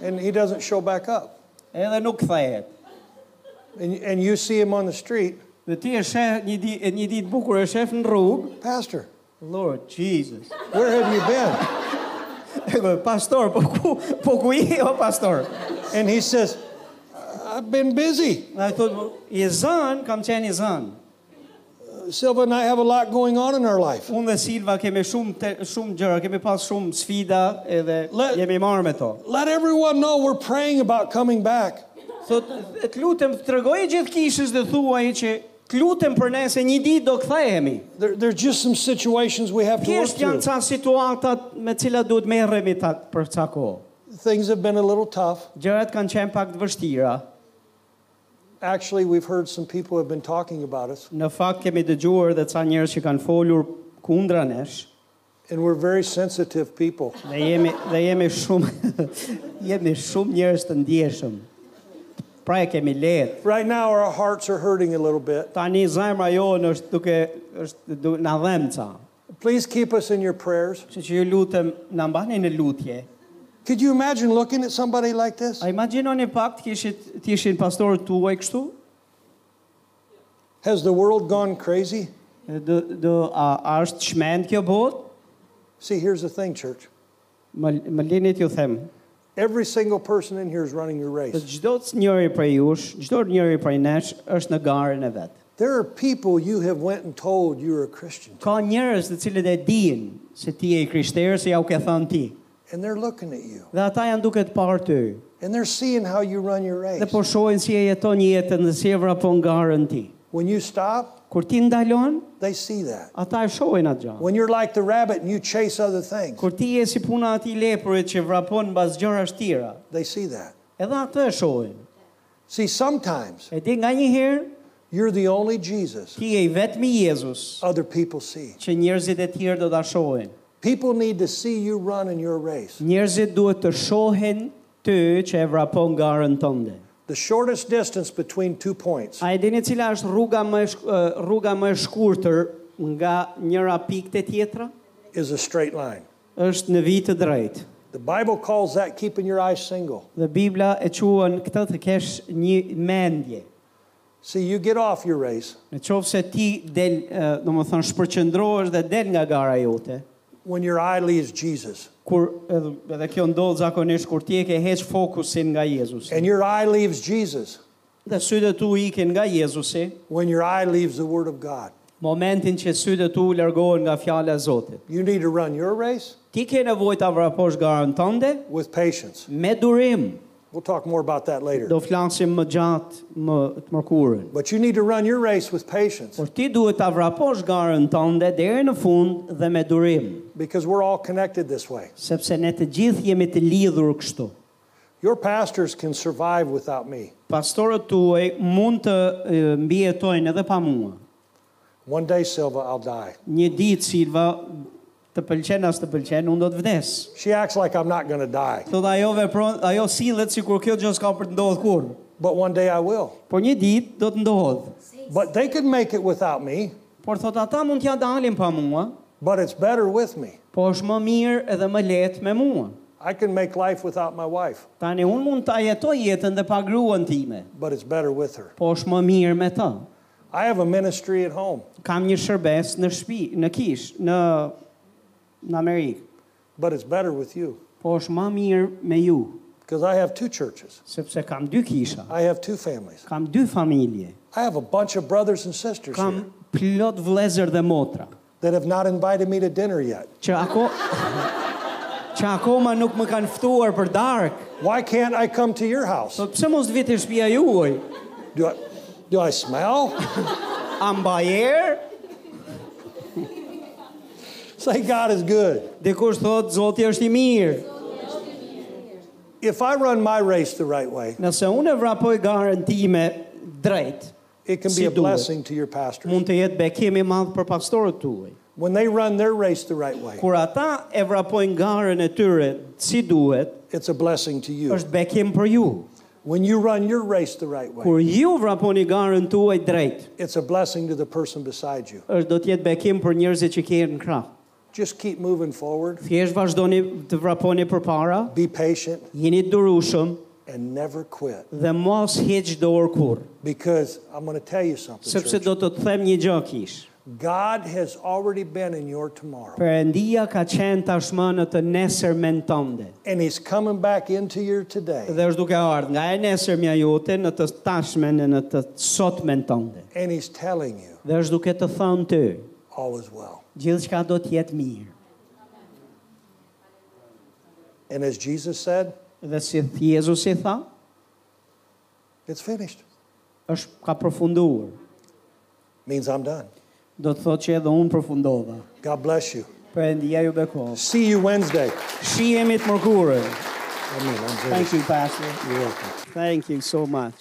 S2: and he doesn't show back up.
S1: Edhe nuk kthehet.
S2: And, and you see him on the street,
S1: Dhe ti e sheh një ditë një ditë bukur e shef në rrugë,
S2: Pastor,
S1: Lord Jesus.
S2: where have you been?
S1: pastor, po ku po ku i o pastor?
S2: And he says, I've been busy.
S1: Ai thot, i zën, kam qenë i zën.
S2: Silva and I have a lot going on in our life.
S1: Unë dhe Silva kemi shumë te, shumë gjëra, kemi pas shumë sfida edhe
S2: Le-
S1: jemi marrë me to.
S2: Let everyone know we're praying about coming back.
S1: Thot, të lutem tregoj gjithë kishës dhe thuaj që të lutem për ne se një ditë do kthehemi.
S2: There, there's just some situations we have to work
S1: Thjesht janë
S2: through.
S1: ca situatat me cilat duhet merremi ta për ca kohë.
S2: Things have been a little tough.
S1: Gjërat kanë qenë pak të vështira.
S2: Actually, we've heard some people have been talking about us,
S1: Në fakt kemi dëgjuar dhe ca njerëz që kanë folur kundra nesh.
S2: and we're very sensitive people.
S1: Dhe jemi dhe jemi shumë jemi shumë njerëz të ndjeshëm. Pra e kemi lehtë.
S2: Right now, our hearts are hurting a little bit.
S1: Tani zemra jonë është duke është du, na dhemca.
S2: Please keep us in your prayers.
S1: Kështu që ju lutem na mbani në lutje.
S2: Could you imagine looking at somebody like this?
S1: A imagjinoni pak të kishit të ishin pastorët tuaj kështu?
S2: Has the world gone crazy?
S1: Do do a, a është shmend kjo botë?
S2: See, here's the thing, church.
S1: Më më lini t'ju them.
S2: Every single person in here is running your
S1: Se
S2: race.
S1: çdo njëri prej jush, çdo njëri prej nesh është në garën e vet.
S2: There are people you have went and told you're a Christian,
S1: Ka njerëz të cilët e dinë se ti je i krishterë, se ja u ke thënë ti.
S2: and they're looking at you.
S1: Dhe ata janë duke të parë ty.
S2: And they're seeing how you run your race.
S1: Dhe po shohin si e jeton jetën dhe si e vrapon garën ti.
S2: When you stop,
S1: Kur ti ndalon,
S2: they see that.
S1: ata e shohin atë gjë.
S2: When you're like the rabbit and you chase other things,
S1: Kur ti je si puna e atij lepurit që vrapon mbas gjërash tjera,
S2: they see that.
S1: edhe atë e shohin.
S2: See, sometimes
S1: E di nga një herë,
S2: you're the only Jesus
S1: ti je i vetmi Jezus
S2: other people see.
S1: që njerëzit e tjerë do ta shohin.
S2: People need to see you run in your race.
S1: Njerëzit duhet të shohin ty që e vrapon garën tënde.
S2: The shortest distance between two points
S1: A e dini cila është rruga më e shk- ë, rruga më e shkurtër nga njëra pikë te tjetra?
S2: is a straight line.
S1: Është në vit të drejtë.
S2: The Bible calls that keeping your eyes single.
S1: Dhe Bibla e quan këtë të kesh një mendje.
S2: See, you get off your race
S1: Në qovë se ti del, ë, do më thënë, shpërqendrohesh dhe del nga gara jote,
S2: when your eye leaves Jesus
S1: kur edhe, edhe kjo ndodh zakonisht kur ti e ke heq fokusin nga Jezusi.
S2: and your eye leaves Jesus
S1: Dhe sytë e tu ikin nga Jezusi,
S2: when your eye leaves the Word of God.
S1: momentin që sytë e tu largohen nga fjala e Zotit.
S2: You need to run your race
S1: Ti ke nevojë ta vraposh garën tënde
S2: with patience.
S1: me durim.
S2: We'll talk more about that later.
S1: Do flasim më gjatë më të mërkurën.
S2: But you need to run your race with patience
S1: Por ti duhet ta vraposh garën tënde deri në fund dhe me durim,
S2: because we're all connected this way.
S1: sepse ne të gjithë jemi të lidhur kështu.
S2: Your pastors can survive without me.
S1: Pastorët tuaj mund të e, mbijetojnë edhe pa mua.
S2: One day, Silva, I'll die.
S1: Një ditë Silva të pëlqen as të pëlqen, unë do të vdes.
S2: She acts like I'm not going to die,
S1: Thot ajo vepron, ajo sillet sikur kjo gjë s'ka për të ndodhur kurrë.
S2: but one day I will.
S1: Por Po një ditë do të ndodhë.
S2: But they could make it without me,
S1: Por thot ata mund t'ja dalin pa mua,
S2: but it's better with me.
S1: po është më mirë edhe më lehtë me mua.
S2: I can make life without my wife,
S1: Tani unë mund ta jetoj jetën dhe pa gruan time,
S2: but it's better with her.
S1: po është më mirë me ta.
S2: I have a ministry at home,
S1: Kam një shërbes në shtëpi, në kish, në në Amerikë,
S2: but it's better with you
S1: po është më mirë me ju,
S2: because I have two churches,
S1: sepse kam dy kisha,
S2: I have two families,
S1: kam dy familje,
S2: I have a bunch of brothers and sisters
S1: kam
S2: here
S1: plot vlezër dhe motra,
S2: that have not invited me to dinner yet.
S1: që ako që akoma nuk më kanë ftuar për darkë.
S2: Why can't I come to your house?
S1: Po pse mos të viti në shtëpia juaj?
S2: Do I, do I smell?
S1: A mbajer?
S2: Say God is good.
S1: Dikush thot Zoti është i mirë.
S2: If I run my race the right way,
S1: Nëse unë e vrapoj garën time drejt,
S2: it can
S1: Si
S2: be a
S1: duhet.
S2: blessing to your pastor.
S1: mund të jetë bekim i madh për pastorët tuaj.
S2: When they run their race the right way,
S1: Kur ata e vrapojnë garën e tyre si duhet,
S2: it's a blessing to you.
S1: është bekim për ju.
S2: When you run your race the right way,
S1: Kur ju vraponi garën tuaj drejt,
S2: it's a blessing to the person beside you.
S1: është do të jetë bekim për njerëzit që keni në krah.
S2: Just keep moving forward,
S1: Thjesht vazhdoni të vraponi përpara,
S2: be patient,
S1: jeni durushëm
S2: and never quit.
S1: dhe mos hiq dorë kurrë,
S2: Because I'm going to tell you something.
S1: sepse
S2: church.
S1: do të të them një gjë kish.
S2: God has already been in your tomorrow,
S1: Perëndia ka qenë tashmë në të nesërmen tënde
S2: and He's coming back into your today,
S1: dhe është duke ardhur nga e nesërmja jote në të tashmen e në të sotmen tënde.
S2: and He's telling you
S1: Dhe është duke të thënë ty,
S2: all is well.
S1: gjithçka do të jetë mirë.
S2: And as Jesus said,
S1: Dhe si Jezusi tha,
S2: it's finished.
S1: është ka përfunduar.
S2: Means I'm done.
S1: Do të thotë që edhe unë përfundova.
S2: God bless you.
S1: Perëndia ju bekoj.
S2: See you Wednesday.
S1: Shihemi të mërkurën.
S2: I mean, I'm finished.
S1: Thank you, Pastor.
S2: You're welcome.
S1: Thank you so much.